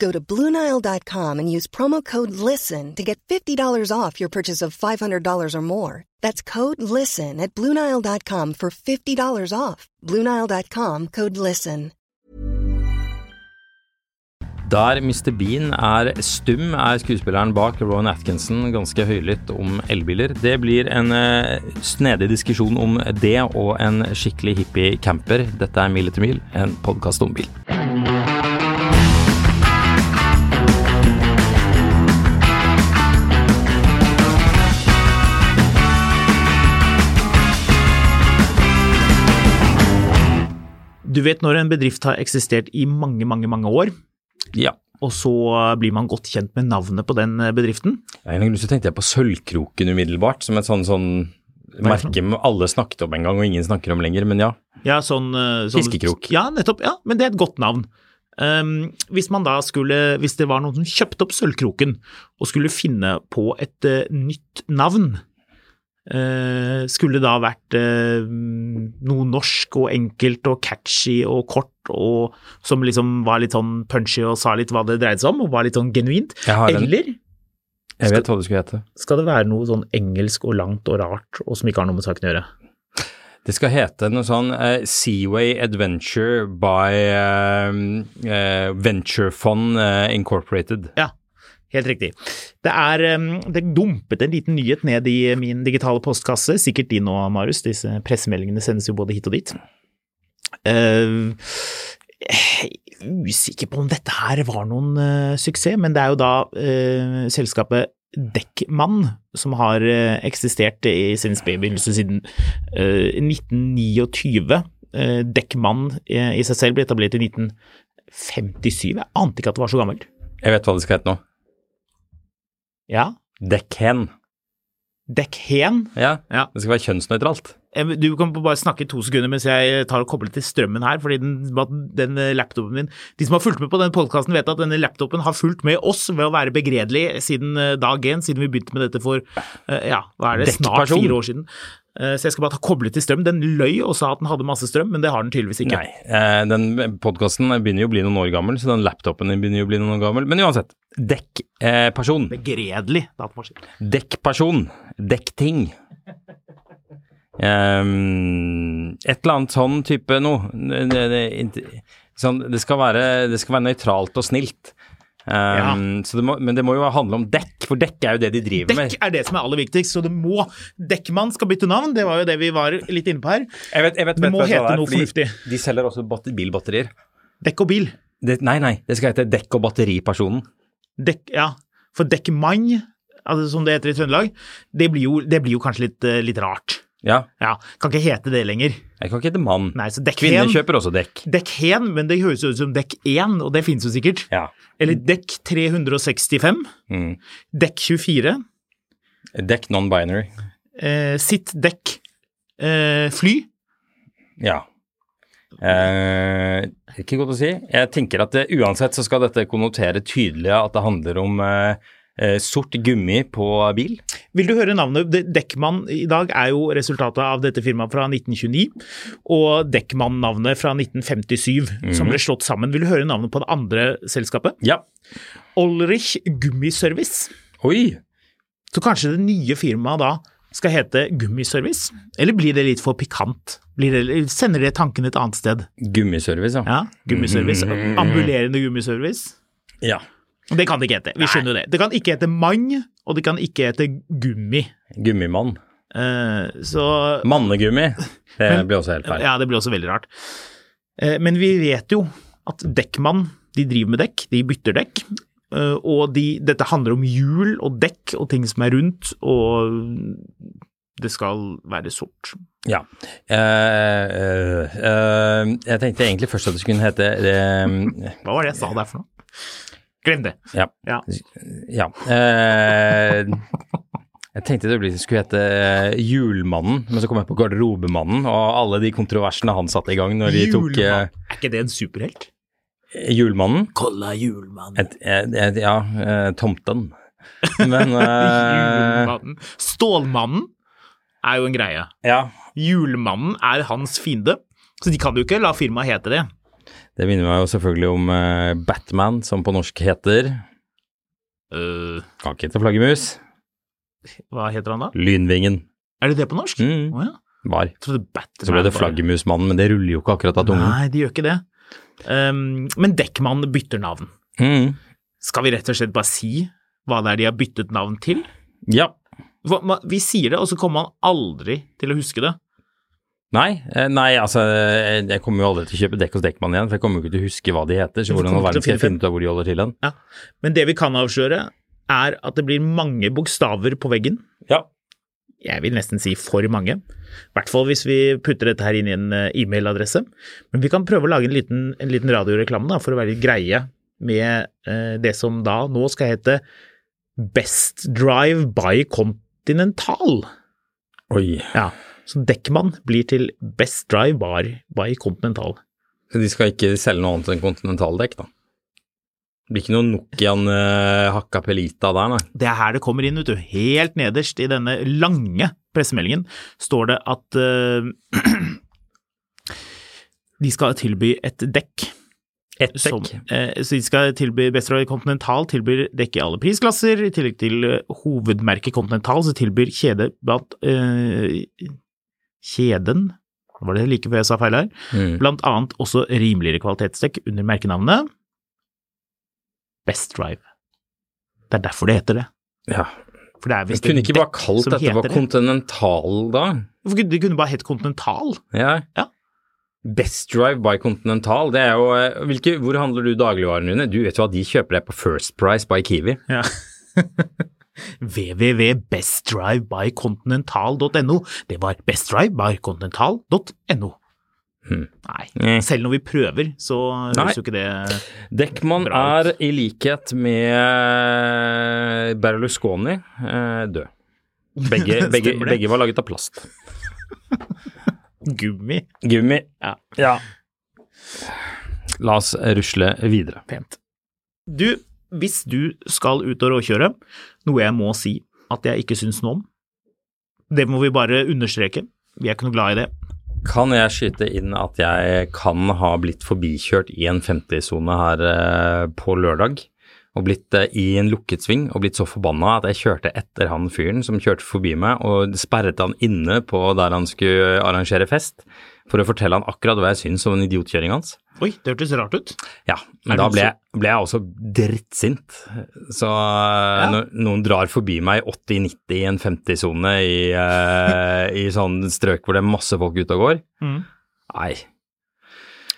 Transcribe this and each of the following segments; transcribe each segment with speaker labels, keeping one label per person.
Speaker 1: Go to BlueNile.com and use promo code LISTEN to get $50 off your purchase of $500 or more. That's code LISTEN at BlueNile.com for $50 off. BlueNile.com code LISTEN.
Speaker 2: Der Mr. Bean er stum, er skuespilleren bak Rowan Atkinson ganske høylytt om elbiler. Det blir en eh, snedig diskusjon om det og en skikkelig hippie camper. Dette er Mil etter mil, en podkast om bil.
Speaker 3: Du vet når en bedrift har eksistert i mange, mange, mange år,
Speaker 2: Ja.
Speaker 3: og så blir man godt kjent med navnet på den eh, bedriften.
Speaker 2: Jeg egentlig så tenkte jeg på Sølvkroken umiddelbart, som et sånn, sånn
Speaker 3: Hva er det for
Speaker 2: merke alle snakket om en gang og ingen snakker om lenger, men ja.
Speaker 3: Ja, sånn, eh, sånn
Speaker 2: Fiskekrok.
Speaker 3: Ja, nettopp. Ja, men det er et godt navn. Ehm, hvis man da skulle, hvis det var noen som kjøpte opp Sølvkroken og skulle finne på et eh, nytt navn, eh, skulle det da vært eh, noe norsk og enkelt og catchy og kort og som liksom var litt sånn punchy og sa litt hva det dreide seg om og var litt sånn genuint?
Speaker 2: Jeg, har en,
Speaker 3: Eller
Speaker 2: jeg vet hva det skulle hete.
Speaker 3: skal det være noe sånn engelsk og langt og rart og som ikke har noe med saken å gjøre?
Speaker 2: Det skal hete noe sånn eh, Seaway Adventure by eh, eh, Venture Fund eh, Incorporated.
Speaker 3: Ja, helt riktig. Det er em, det dumpet en liten nyhet ned i min digitale postkasse, sikkert din nå, Marius. Disse pressemeldingene sendes jo både hit og dit. Eh, usikker på om dette her var noen eh, suksess, men det er jo da eh, selskapet Dekkmann, som har eh, eksistert i sin spede begynnelse siden eh, 1929. Eh, Dekkmann eh, i seg selv ble etablert i 1957. Jeg ante ikke at det var så gammelt.
Speaker 2: Jeg vet hva det skal hete nå.
Speaker 3: Ja,
Speaker 2: Dekken.
Speaker 3: Dekk hen.
Speaker 2: Ja.
Speaker 3: Ja.
Speaker 2: Det skal være kjønnsnøytralt.
Speaker 3: Eh, Du kan bare snakke i to sekunder mens jeg tar og kobler til strømmen her, fordi den, den laptopen min De som har fulgt med på den podkasten, vet at denne laptopen har fulgt med oss ved å være begredelig siden eh, dag én, siden vi begynte med dette for eh, ja, hva er det, snart
Speaker 2: Dekkperson.
Speaker 3: fire år siden. Eh, Så jeg skal bare ta koblet til strøm. Den løy og sa at den hadde masse strøm, men det har den tydeligvis ikke.
Speaker 2: Nei. Eh, den podkasten begynner jo å bli noen år gammel, så den laptopen din begynner jo å bli noen år gammel. Men uansett. Dekkperson. Eh, person.
Speaker 3: Begredelig datamaskin.
Speaker 2: Dekkperson. Dekkting. Ehm, et eller annet sånn type noe. Det, det, det, inte- sånn, det, skal, være, det skal være nøytralt og snilt. Ehm, så det må, men det må jo handle om dekk, for dekk er jo det de driver
Speaker 3: Dekk
Speaker 2: med.
Speaker 3: er det som er aller viktigst, så det må Dekkmann skal bytte navn, det var jo det vi var litt inne på her.
Speaker 2: Jeg vet, jeg vet,
Speaker 3: Det
Speaker 2: vet-
Speaker 3: må
Speaker 2: vet hva
Speaker 3: hete
Speaker 2: er,
Speaker 3: noe
Speaker 2: fordi
Speaker 3: fornuftig.
Speaker 2: De selger også bat- bilbatterier.
Speaker 3: Dekk og bil.
Speaker 2: Det, nei, nei, det skal hete Dekk- og batteripersonen.
Speaker 3: Dekk, ja, for dekkmann, altså som det heter i Trøndelag, det blir jo, det blir jo kanskje litt, eh, litt rart.
Speaker 2: Ja,
Speaker 3: Ja, kan ikke hete det lenger.
Speaker 2: jeg kan ikke hete mann.
Speaker 3: Nei, så
Speaker 2: Kvinner
Speaker 3: dekkhen,
Speaker 2: kjøper også dekk.
Speaker 3: dekkhen, men det høres jo ut som dekk 1, og det finnes jo sikkert.
Speaker 2: Ja.
Speaker 3: Eller dekk 365,
Speaker 2: Mm.
Speaker 3: dekk 24,
Speaker 2: Dekk non-binary.
Speaker 3: eh, sitt dekk, eh, fly,
Speaker 2: Ja. Eh, ikke godt å si. Jeg tenker at det, uansett så skal dette konnotere tydelig at det handler om eh, eh, sort gummi på bil.
Speaker 3: Vil du høre navnet? De- Dekkmann i dag er jo resultatet av dette firmaet fra 1929, og Dekkmann-navnet fra 1957,
Speaker 2: Mhm.
Speaker 3: som ble slått sammen. Vil du høre navnet på det andre selskapet?
Speaker 2: Ja.
Speaker 3: Olrich Gummiservice.
Speaker 2: Oi!
Speaker 3: Så kanskje det nye firmaet da skal hete Gummiservice? Eller blir det litt for pikant? Blir det, eller sender det tanken et annet sted?
Speaker 2: Gummiservice, ja.
Speaker 3: Ja, Gummiservice. Ambulerende gummiservice.
Speaker 2: ja.
Speaker 3: Og Det kan det ikke hete. Vi skjønner jo det. Det kan ikke hete Mann, og det kan ikke hete Gummi.
Speaker 2: Gummimann.
Speaker 3: Eh, så
Speaker 2: Mannegummi. Det blir også helt feil.
Speaker 3: Ja, det blir også veldig rart. Eh, Men vi vet jo at dekkmann, de driver med dekk, de bytter dekk. Eh, Og de, dette handler om hjul og dekk og ting som er rundt, og det skal være sort.
Speaker 2: Ja. Eh, eh, eh, jeg tenkte egentlig først at det skulle hete eh,
Speaker 3: Hva var det jeg sa der for noe? Glem det.
Speaker 2: Ja.
Speaker 3: Ja.
Speaker 2: ja. Eh, jeg tenkte det øyeblikket skulle hete eh, Julmannen, men så kom jeg på Garderobemannen og alle de kontroversene han satte i gang når de tok eh,
Speaker 3: Julemann. Er ikke det en superhelt?
Speaker 2: Julmannen.
Speaker 3: Kolla julemannen.
Speaker 2: Et, et, et, ja, eh, Tomten. Men eh,
Speaker 3: Julemannen. Stålmannen er jo en greie.
Speaker 2: Ja.
Speaker 3: Julemannen er hans fiende, så de kan jo ikke la firmaet hete det.
Speaker 2: Det minner meg jo selvfølgelig om eh, Batman, som på norsk heter
Speaker 3: Øh,
Speaker 2: Kan ikke hete flaggermus.
Speaker 3: hva heter han da?
Speaker 2: Lynvingen.
Speaker 3: Er det det på norsk?
Speaker 2: Mm.
Speaker 3: Å ja.
Speaker 2: Var.
Speaker 3: Jeg trodde Batman
Speaker 2: Så ble det
Speaker 3: var-
Speaker 2: Flaggermusmannen, men det ruller jo ikke akkurat av tungen.
Speaker 3: Nei, de gjør ikke det. Um, men Dekkmann bytter navn.
Speaker 2: Mm.
Speaker 3: Skal vi rett og slett bare si hva det er de har byttet navn til?
Speaker 2: Ja.
Speaker 3: Hva, ma- vi sier det, og så kommer man aldri til å huske det.
Speaker 2: Nei, eh, nei, altså eh, jeg kommer jo aldri til å kjøpe dekk hos Dekkmann igjen, for jeg kommer jo ikke til å huske hva de heter, så
Speaker 3: Du
Speaker 2: hvordan i all
Speaker 3: kommer til
Speaker 2: verden
Speaker 3: å
Speaker 2: skal jeg
Speaker 3: finne
Speaker 2: finne ut av hvor de holder til hen?
Speaker 3: Men det vi kan avsløre, er at det blir mange bokstaver på veggen.
Speaker 2: Ja.
Speaker 3: jeg vil nesten si for mange. I hvert fall hvis vi putter dette her inn i en eh, e-mailadresse. Men vi kan prøve å lage en liten, en liten radioreklame da, for å være litt greie med eh, det som da nå skal hete Best Drive by Continental.
Speaker 2: Oi.
Speaker 3: Ja, så Dekkmann blir til Best Drive Bar by Continental.
Speaker 2: Så de skal ikke selge noe annet enn kontinentaldekk, da? Det blir ikke noe Nokian eh, Hakka Pelita der, nei.
Speaker 3: Det er her det kommer inn, vet du. Helt nederst i denne lange pressemeldingen står det at eh, de skal tilby et dekk
Speaker 2: Ett
Speaker 3: som,
Speaker 2: dekk.
Speaker 3: eh, så de skal tilby Bestråd Continental tilbyr dekk i alle prisklasser. I tillegg til eh, hovedmerket Continental så tilbyr kjede blant eh, Kjeden Var det like før jeg sa feil her?
Speaker 2: Mm.
Speaker 3: Blant annet også rimeligere kvalitetsdekk under merkenavnet Best Drive. Det er derfor det heter det.
Speaker 2: Ja.
Speaker 3: For det er
Speaker 2: Men
Speaker 3: visst
Speaker 2: kunne
Speaker 3: et
Speaker 2: ikke bare
Speaker 3: dekk
Speaker 2: kalt
Speaker 3: som
Speaker 2: dette
Speaker 3: heter
Speaker 2: for Continental, da?
Speaker 3: Hvorfor kunne- Det kunne bare hett Continental.
Speaker 2: Ja.
Speaker 3: Ja.
Speaker 2: Best Drive by Continental, det er jo eh, hvilke, Hvor handler du dagligvarene dine? Du vet jo at de kjøper deg på First Price by Kiwi.
Speaker 3: Ja. www.bestdrivebycontinental.no. Det var bestdrivebycontinental.no.
Speaker 2: Hmm.
Speaker 3: Nei.
Speaker 2: Mm.
Speaker 3: Selv når vi prøver, så
Speaker 2: Nei.
Speaker 3: høres jo ikke det
Speaker 2: Deckman
Speaker 3: Bra
Speaker 2: er
Speaker 3: ut.
Speaker 2: i likhet med Berlusconi eh, død. Begge, begge,
Speaker 3: Stemmer det?
Speaker 2: begge var laget av plast.
Speaker 3: Gummi.
Speaker 2: Gummi.
Speaker 3: Ja.
Speaker 2: La oss rusle videre.
Speaker 3: Pent. Du, hvis du skal ut og råkjøre, noe jeg må si at jeg ikke syns noe om, det må vi bare understreke. Vi er ikke noe glad i det.
Speaker 2: Kan jeg skyte inn at jeg kan ha blitt forbikjørt i en 50-sone her eh, på lørdag? Og blitt eh, i en lukket sving og blitt så forbanna at jeg kjørte etter han fyren som kjørte forbi meg, og sperret han inne på der han skulle arrangere fest, for å fortelle han akkurat hva jeg syns om den idiotkjøringa hans.
Speaker 3: Oi, det hørtes rart ut.
Speaker 2: Ja, men
Speaker 3: Er
Speaker 2: da
Speaker 3: du
Speaker 2: ble,
Speaker 3: så-
Speaker 2: jeg- ble jeg også drittsint. Så eh, når noen drar forbi meg i 80-90 i en 50-sone i, eh, i sånn strøk hvor det er masse folk ute og går.
Speaker 3: Mm.
Speaker 2: Nei.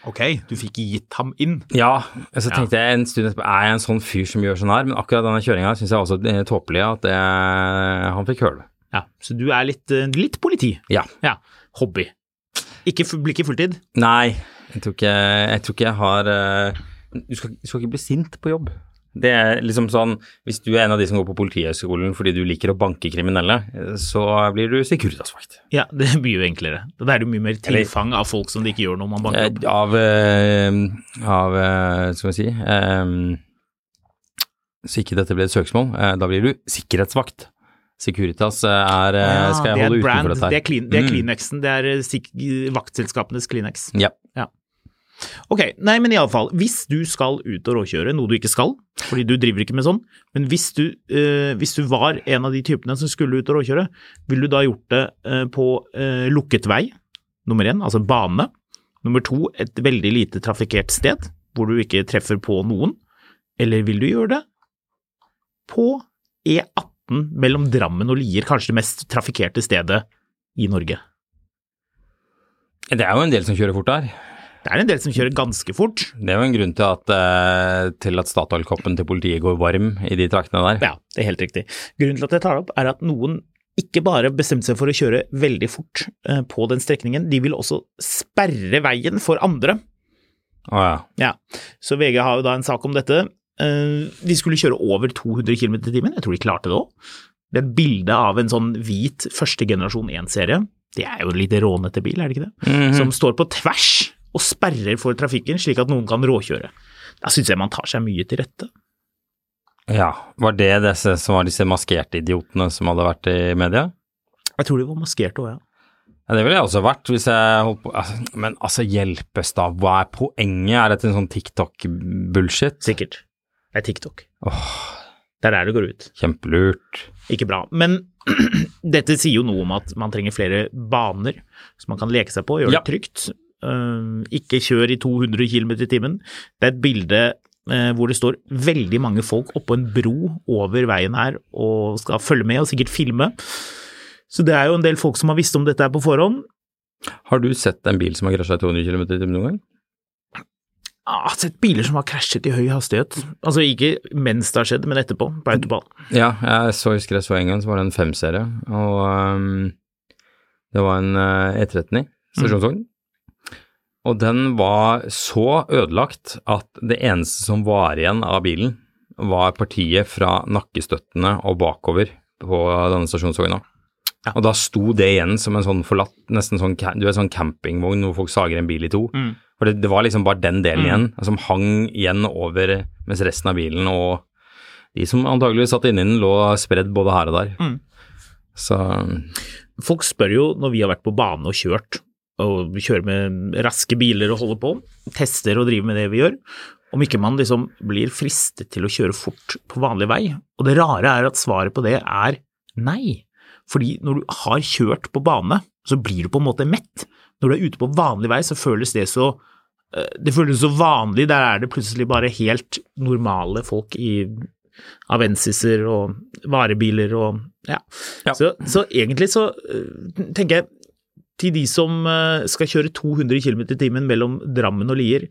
Speaker 3: Ok, du fikk gitt ham inn.
Speaker 2: Ja, så
Speaker 3: Ja.
Speaker 2: tenkte jeg en stund etterpå, er jeg en sånn fyr som gjør sånn her? Men akkurat denne kjøringa syns jeg også er tåpelig at eh, han fikk høle.
Speaker 3: Ja, Så du er litt, eh, litt politi.
Speaker 2: Ja.
Speaker 3: Ja, Hobby. Ikke, fu- blir ikke fulltid.
Speaker 2: Nei, jeg tror ikke jeg, tror ikke jeg har eh, du, skal, du skal ikke bli sint på jobb. Det er liksom sånn, Hvis du er en av de som går på Politihøgskolen fordi du liker å banke kriminelle, eh, så blir du Securitas-vakt.
Speaker 3: Ja, det er mye enklere. Da er det jo mye mer tilfang av folk som det ikke gjør noe man banker
Speaker 2: Eh,
Speaker 3: opp.
Speaker 2: Av, eh, av eh, Skal vi si eh, Så ikke dette blir et søksmål. eh, Da blir du sikkerhetsvakt. Securitas eh, er eh,
Speaker 3: Ja,
Speaker 2: Skal
Speaker 3: det
Speaker 2: jeg
Speaker 3: er
Speaker 2: holde
Speaker 3: brand,
Speaker 2: utenfor dette her?
Speaker 3: Det er, clean, det er
Speaker 2: Mm.
Speaker 3: Kleenexen, det er eh, sik vaktselskapenes Kleenex.
Speaker 2: Ja.
Speaker 3: Ok, nei, men iallfall, hvis du skal ut og råkjøre, noe du ikke skal, fordi du driver ikke med sånn, men hvis du, eh, hvis du var en av de typene som skulle ut og råkjøre, ville du da gjort det eh, på eh, lukket vei, nummer én, altså bane, nummer to, et veldig lite trafikkert sted, hvor du ikke treffer på noen, eller vil du gjøre det på E18 mellom Drammen og Lier, kanskje det mest trafikkerte stedet i Norge?
Speaker 2: Det er jo en del som kjører fort der.
Speaker 3: Det er en del som kjører ganske fort.
Speaker 2: Det er jo en grunn til at, eh, til at Statoil-koppen til politiet går varm i de traktene der.
Speaker 3: Ja, det er helt riktig. Grunnen til at jeg tar det opp, er at noen ikke bare bestemte seg for å kjøre veldig fort eh, på den strekningen, de vil også sperre veien for andre.
Speaker 2: Å ja.
Speaker 3: Ja, Så VG har jo da en sak om dette. Eh, De skulle kjøre over 200 km i timen, jeg tror de klarte det òg. Det er et bilde av en sånn hvit første generasjon 1-serie. Det er jo en litt rånete bil, er det ikke det? Som står på tvers og sperrer for trafikken, slik at noen kan råkjøre. Da syns jeg man tar seg mye til rette.
Speaker 2: ja. Var det disse som var disse maskerte idiotene som hadde vært i media?
Speaker 3: Jeg tror de var maskerte òg, ja.
Speaker 2: Ja, det ville jeg også vært hvis jeg holdt på altså, Men altså, hjelpes da, hva er poenget? Er dette en sånn TikTok-bullshit?
Speaker 3: Sikkert. Det er TikTok.
Speaker 2: Åh,
Speaker 3: Det er der det går ut.
Speaker 2: kjempelurt.
Speaker 3: Ikke bra. Men dette sier jo noe om at man trenger flere baner som man kan leke seg på, gjøre
Speaker 2: Ja.
Speaker 3: det trygt. Eh, ikke kjør i 200 km i timen. Det er et bilde eh, hvor det står veldig mange folk oppå en bro over veien her og skal følge med og sikkert filme. Så det er jo en del folk som har visst om dette her på forhånd.
Speaker 2: Har du sett en bil som har krasja i 200 km i timen noen gang?
Speaker 3: Jeg har Ah, sett biler som har krasjet i høy hastighet. Altså ikke mens det har skjedd, men etterpå, på autobahn.
Speaker 2: Ja, jeg så husker jeg så en gang, så var det en femserie, og ehm, det var en eh, E39
Speaker 3: Mm.
Speaker 2: stasjonsvogn. Og den var så ødelagt at det eneste som var igjen av bilen, var partiet fra nakkestøttene og bakover på denne stasjonsvogna.
Speaker 3: Ja.
Speaker 2: Og da sto det igjen som en sånn forlatt, nesten sånn, ca- du vet, sånn campingvogn hvor folk sager en bil i to.
Speaker 3: Mm.
Speaker 2: For det, det var liksom bare den delen
Speaker 3: Mm.
Speaker 2: igjen, som hang igjen over mens resten av bilen og de som antageligvis satt inni den, lå spredd både her og der.
Speaker 3: Mm.
Speaker 2: Så
Speaker 3: folk spør jo når vi har vært på bane og kjørt, og vi kjører med raske biler og holder på, tester og driver med det vi gjør, om ikke man liksom blir fristet til å kjøre fort på vanlig vei. Og det rare er at svaret på det er nei. Fordi når du har kjørt på bane, så blir du på en måte mett. Når du er ute på vanlig vei, så føles det så eh, det føles så vanlig, der er det plutselig bare helt normale folk i avensiser og varebiler og ja.
Speaker 2: Ja.
Speaker 3: Så, så egentlig så eh, tenker jeg til de som eh, skal kjøre 200 km i timen mellom Drammen og Lier,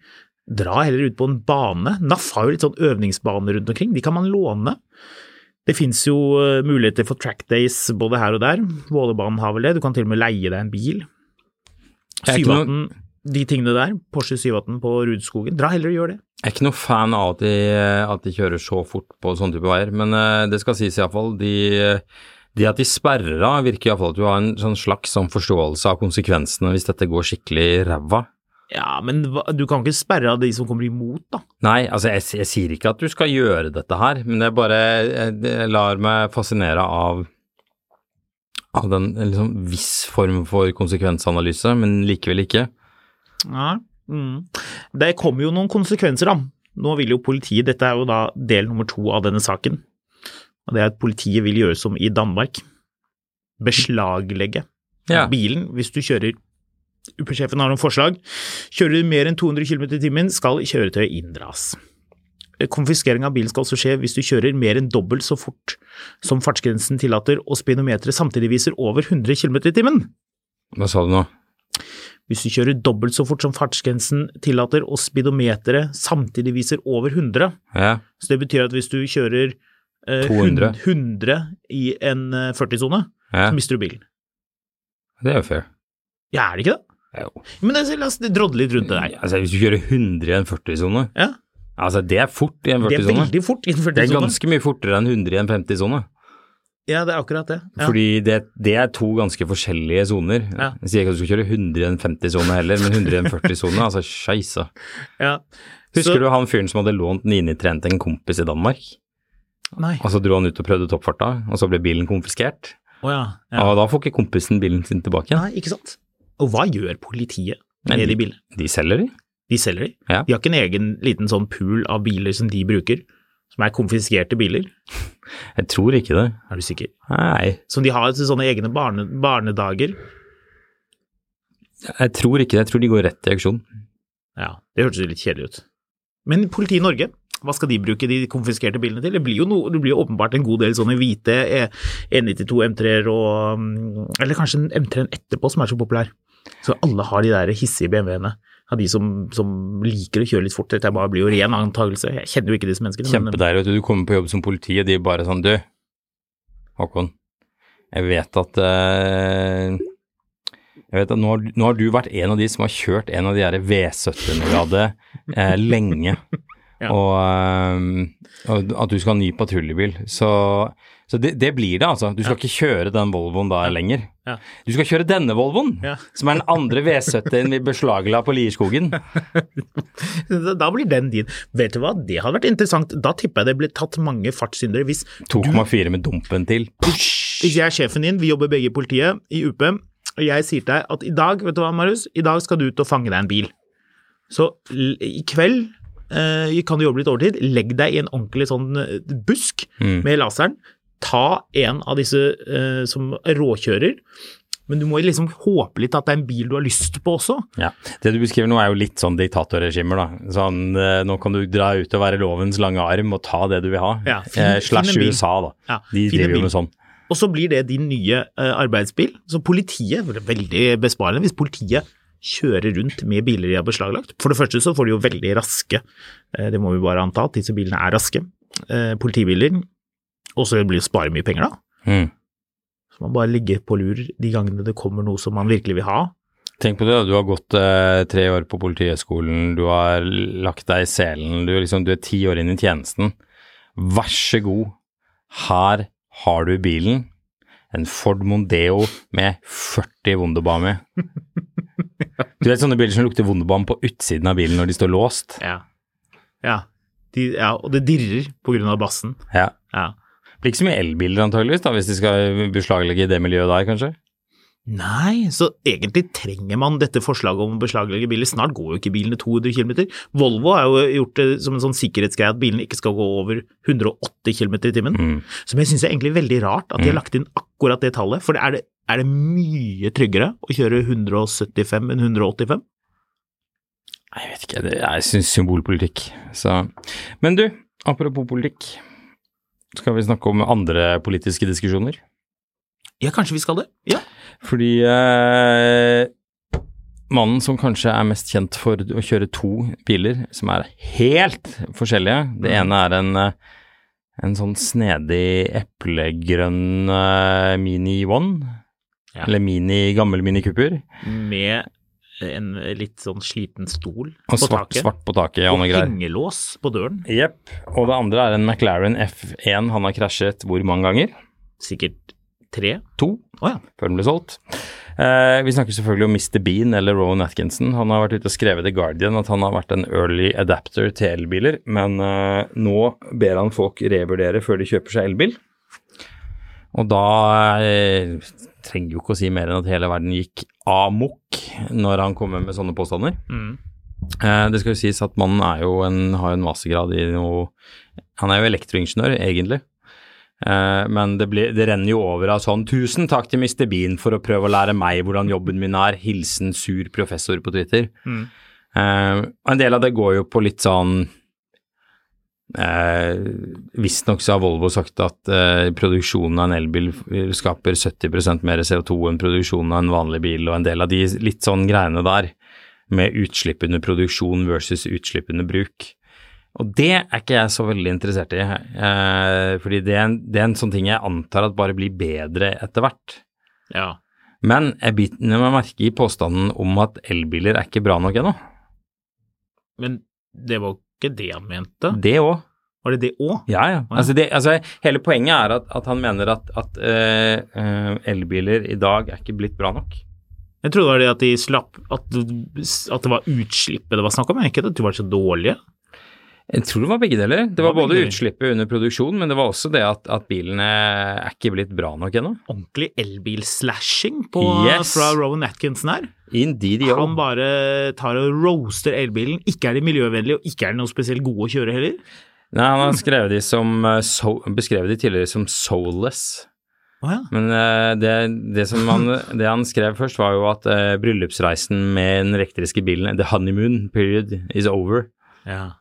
Speaker 3: dra heller ut på en bane. NAF har jo litt sånn øvningsbaner rundt omkring, de kan man låne. Det fins jo eh, muligheter for track days både her og der. Vålerbanen har vel det, du kan til og med leie deg en bil.
Speaker 2: Jeg er ikke noe-
Speaker 3: 718, de tingene der. Porsche 718 på Rudskogen. Dra heller og gjør det.
Speaker 2: jeg er ikke noe fan av at de, at de kjører så fort på sånne type veier, men eh, det skal sies iallfall. De, de at de sperrer av, virker iallfall at du har en sånn slags sånn forståelse av konsekvensene hvis dette går skikkelig ræva.
Speaker 3: Ja, men hva- du kan ikke sperre av de som kommer imot, da.
Speaker 2: Nei, altså jeg, jeg sier ikke at du skal gjøre dette her, men jeg bare jeg, jeg lar meg fascinere av, av den en liksom, viss form for konsekvensanalyse, men likevel ikke.
Speaker 3: Ja. Mm. Det kommer jo noen konsekvenser, da. Nå vil jo politiet Dette er jo da del nummer to av denne saken. Og det er at politiet vil gjøre som i Danmark. Beslaglegge
Speaker 2: Ja,
Speaker 3: bilen hvis du kjører UP-sjefen har noen forslag. Kjører du mer enn 200 km i timen, skal kjøretøyet inndras. Konfiskering av bil skal også skje hvis du kjører mer enn dobbelt så fort som fartsgrensen tillater og speedometeret samtidig viser over 100 km i timen.
Speaker 2: hva sa du nå?
Speaker 3: Hvis du kjører dobbelt så fort som fartsgrensen tillater og speedometeret samtidig viser over 100,
Speaker 2: Ja,
Speaker 3: så det betyr at hvis du kjører eh,
Speaker 2: 200.
Speaker 3: 100 i en eh, 40-sone,
Speaker 2: ja
Speaker 3: så mister du bilen.
Speaker 2: det er jo fair.
Speaker 3: Ja, er det ikke det?
Speaker 2: Jo.
Speaker 3: Men det, la oss drodle litt rundt det der.
Speaker 2: Altså, hvis du kjører 100 i en 40-sone,
Speaker 3: Ja,
Speaker 2: altså det er fort i en
Speaker 3: det er
Speaker 2: 40-sone.
Speaker 3: veldig fort i en
Speaker 2: Det er
Speaker 3: 40-sone.
Speaker 2: ganske mye fortere enn 100 i en 50-sone,
Speaker 3: Ja, det er akkurat det. Ja.
Speaker 2: fordi det, det er to ganske forskjellige soner.
Speaker 3: Ja.
Speaker 2: Jeg sier ikke at du skal kjøre 100 i en 50-sone heller, men 100 i en 40-sone, altså scheisse.
Speaker 3: ja.
Speaker 2: Husker
Speaker 3: Så-
Speaker 2: du han fyren som hadde lånt 993 til en kompis i Danmark?
Speaker 3: Nei.
Speaker 2: Og så dro han ut og prøvde toppfarta, og så ble bilen konfiskert.
Speaker 3: Å ja. ja.
Speaker 2: Og da får ikke kompisen bilen sin tilbake igjen.
Speaker 3: Nei, ikke sant. Og hva gjør politiet
Speaker 2: Nei,
Speaker 3: med
Speaker 2: de-
Speaker 3: de bilene?
Speaker 2: De selger de.
Speaker 3: De selger de.
Speaker 2: Ja.
Speaker 3: De har ikke en egen liten sånn pool av biler som de bruker, som er konfiskerte biler.
Speaker 2: Jeg tror ikke det.
Speaker 3: Er du sikker?
Speaker 2: Nei,
Speaker 3: Som de har til sånne egne barne, barnedager.
Speaker 2: jeg tror ikke det. Jeg tror de går rett i auksjon.
Speaker 3: Ja, det hørtes jo litt kjedelig ut. Men politiet i Norge, hva skal de bruke de konfiskerte bilene til? Det blir jo, noe, det blir jo åpenbart en god del sånne hvite E- E92 M3-er og mm, Eller kanskje en M3-en etterpå som er så populær. Så alle har de der hissige BMW-ene av de som, som liker å kjøre litt fort. Dette bare blir jo ren antakelse. Jeg kjenner jo ikke disse menneskene. men-
Speaker 2: Kjempedeilig. vet Du Du kommer på jobb som politi, og de bare sånn Du, Håkon. Jeg vet at eh, jeg vet at nå har, du- nå har du vært en av de som har kjørt en av de her V70-grade eh, lenge.
Speaker 3: Ja.
Speaker 2: Og, eh, og at du skal ha ny patruljebil. Så, så det, det blir det, altså. Du skal ikke kjøre den Volvoen da lenger.
Speaker 3: Ja.
Speaker 2: Du skal kjøre denne Volvoen,
Speaker 3: Ja.
Speaker 2: som er den andre V70-en vi beslagla på Lierskogen.
Speaker 3: Da blir den din. Vet du hva, det hadde vært interessant. Da tipper jeg det ble tatt mange fartssyndere. Hvis,
Speaker 2: 2,4 med dumpen til.
Speaker 3: hvis jeg er sjefen din, vi jobber begge i politiet, i UP, og jeg sier til deg at i dag, vet du hva Marius, i dag skal du ut og fange deg en bil. Så l- i kveld eh, kan du jobbe litt overtid, legg deg i en ordentlig sånn eh, busk
Speaker 2: Mm.
Speaker 3: med laseren, ta en av disse eh, som råkjører, men du må liksom håpe litt at det er en bil du har lyst på også.
Speaker 2: Ja, Det du beskriver nå er jo litt sånn diktatorregimer, da. Sånn, eh, nå kan du dra ut og være lovens lange arm og ta det du vil ha.
Speaker 3: Ja, finn-
Speaker 2: eh, slash
Speaker 3: finn en bil.
Speaker 2: USA, da.
Speaker 3: Ja,
Speaker 2: De
Speaker 3: finn en
Speaker 2: driver jo
Speaker 3: bil.
Speaker 2: med sånn.
Speaker 3: Og så blir det din nye eh, arbeidsbil. Så politiet det er veldig besparende hvis politiet kjører rundt med biler de har beslaglagt. For det første så får de jo veldig raske, eh, det må vi bare anta, at disse bilene er raske, eh, politibiler. Og så blir det å spare mye penger, da.
Speaker 2: Mm.
Speaker 3: Så man bare ligger på lur de gangene det kommer noe som man virkelig vil ha.
Speaker 2: Tenk på det, da. Du har gått eh, tre år på Politihøgskolen, du har lagt deg i selen, du, er liksom, du er ti år inn i tjenesten. Vær så god, her har du bilen. En Ford Mondeo med 40 Wunderbar med. Du vet sånne biler som lukter Wunderbar på utsiden av bilen når de står låst?
Speaker 3: Ja. Ja, de, ja og det dirrer på grunn av bassen.
Speaker 2: Ja.
Speaker 3: Ja.
Speaker 2: blir ikke så mye elbiler antageligvis, da, hvis de skal beslaglegge i det miljøet der, kanskje?
Speaker 3: Nei, så egentlig trenger man dette forslaget om å beslaglegge biler. Snart går jo ikke bilene 200 km. Volvo har jo gjort det som en sånn sikkerhetsgreie at bilene ikke skal gå over 180 km i timen.
Speaker 2: Mm.
Speaker 3: Som jeg syns er egentlig veldig rart at de har lagt inn akkurat det tallet. For er det, er det mye tryggere å kjøre 175 enn 185?
Speaker 2: Nei, Jeg vet ikke, det er jeg synes symbolpolitikk. Så. Men du, apropos politikk, skal vi snakke om andre politiske diskusjoner?
Speaker 3: Ja, kanskje vi skal det? Ja.
Speaker 2: Fordi eh, mannen som kanskje er mest kjent for å kjøre to biler, som er helt forskjellige Det ene er en, eh, en sånn snedig eplegrønn eh, Mini One,
Speaker 3: Ja.
Speaker 2: eller mini, gammel Mini Cooper.
Speaker 3: Med en litt sånn sliten stol
Speaker 2: Og
Speaker 3: på
Speaker 2: svart,
Speaker 3: taket.
Speaker 2: svart på taket og
Speaker 3: og
Speaker 2: noe greier.
Speaker 3: hengelås på døren.
Speaker 2: Jepp. Og det andre er en McLaren F1 han har krasjet hvor mange ganger?
Speaker 3: Sikkert tre.
Speaker 2: To,
Speaker 3: Å ja.
Speaker 2: før den ble solgt. Eh, vi snakker selvfølgelig om Mr. Bean eller Rowan Atkinson. Han har vært ute og skrevet i The Guardian at han har vært en early adapter til elbiler, men eh, nå ber han folk revurdere før de kjøper seg elbil. Og da eh, trenger jo ikke å si mer enn at hele verden gikk amok når han kommer med sånne påstander.
Speaker 3: Mm.
Speaker 2: Eh, Det skal jo sies at mannen er jo en, har jo en mastergrad i noe Han er jo elektroingeniør, egentlig. Eh, Men det, blir, det renner jo over av sånn 'Tusen takk til Mr. Bean for å prøve å lære meg hvordan jobben min er'. Hilsen sur professor på Twitter.
Speaker 3: Mm.
Speaker 2: Eh, og en del av det går jo på litt sånn Eh, Visstnok så har Volvo sagt at eh, produksjonen av en elbil f- skaper 70 mer CO2 enn produksjonen av en vanlig bil, og en del av de litt sånn greiene der, med utslipp under produksjon versus utslipp under bruk. Og det er ikke jeg så veldig interessert i, eh, fordi det er, en, det er en sånn ting jeg antar at bare blir bedre etter hvert.
Speaker 3: ja.
Speaker 2: Men jeg biter meg merke i påstanden om at elbiler er ikke bra nok ennå.
Speaker 3: Men det var ikke det han mente.
Speaker 2: Det òg.
Speaker 3: Var det det òg?
Speaker 2: Ja, ja.
Speaker 3: ja.
Speaker 2: Altså det, altså hele poenget er at, at han mener at, at eh, eh, elbiler i dag er ikke blitt bra nok.
Speaker 3: Jeg trodde det var det at de slapp At, at det var utslippet det var snakk om, men ikke at de var så dårlige.
Speaker 2: Jeg tror det var begge deler. Det var
Speaker 3: var begge
Speaker 2: både
Speaker 3: deler.
Speaker 2: utslippet under produksjon, men det var også det at, at bilene er ikke blitt bra nok ennå.
Speaker 3: Ordentlig elbilslashing på-
Speaker 2: Yes.
Speaker 3: fra Rowan Atkinson her.
Speaker 2: Indeed, yo.
Speaker 3: Han bare tar og roaster elbilen. Ikke er de miljøvennlige, og ikke er de noe spesielt gode å kjøre heller.
Speaker 2: Nei, han har skrevet de som, eh, so, beskrevet de tidligere som soulless.
Speaker 3: Å ja.
Speaker 2: Men eh, det, det, som han, det han skrev først, var jo at eh, bryllupsreisen med den elektriske bilen, the honeymoon period is over.
Speaker 3: ja.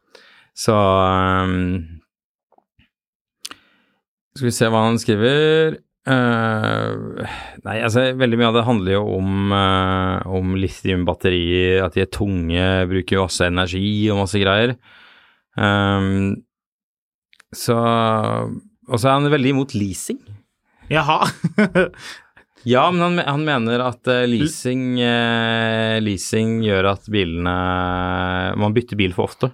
Speaker 2: Så ehm, Skal vi se hva han skriver. Eh, nei, altså veldig mye av det handler jo om, eh, om lithiumbatterier, at de er tunge, bruker jo masse energi og masse greier. Ehm, så Og så er han veldig imot leasing.
Speaker 3: Jaha.
Speaker 2: Ja, men han, han mener at eh, leasing, eh, leasing gjør at bilene Man bytter bil for ofte.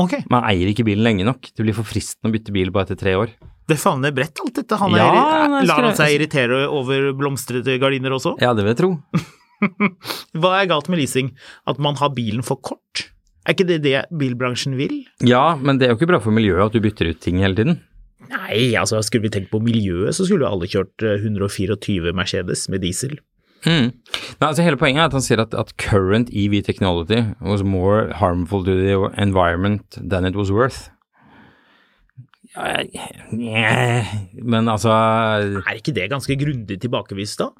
Speaker 3: ok.
Speaker 2: Man eier ikke bilen lenge nok. Det blir for fristende å bytte bil bare etter tre år.
Speaker 3: Det favner bredt, alt dette. Han er,
Speaker 2: Ja, han er
Speaker 3: lar han
Speaker 2: skre-
Speaker 3: seg irritere over blomstrete gardiner også?
Speaker 2: Ja, det vil jeg tro.
Speaker 3: Hva er galt med leasing? At man har bilen for kort? Er ikke det det bilbransjen vil?
Speaker 2: Ja, men det er jo ikke bra for miljøet at du bytter ut ting hele tiden.
Speaker 3: Nei, altså skulle vi tenkt på miljøet, så skulle jo alle kjørt eh, 124 Mercedes med diesel.
Speaker 2: Mm. Nei, altså Hele poenget er at han sier at, at current EV technology was more harmful to the environment than it was worth. Ja, jeg- Men altså
Speaker 3: Er ikke det ganske grundig tilbakevist da?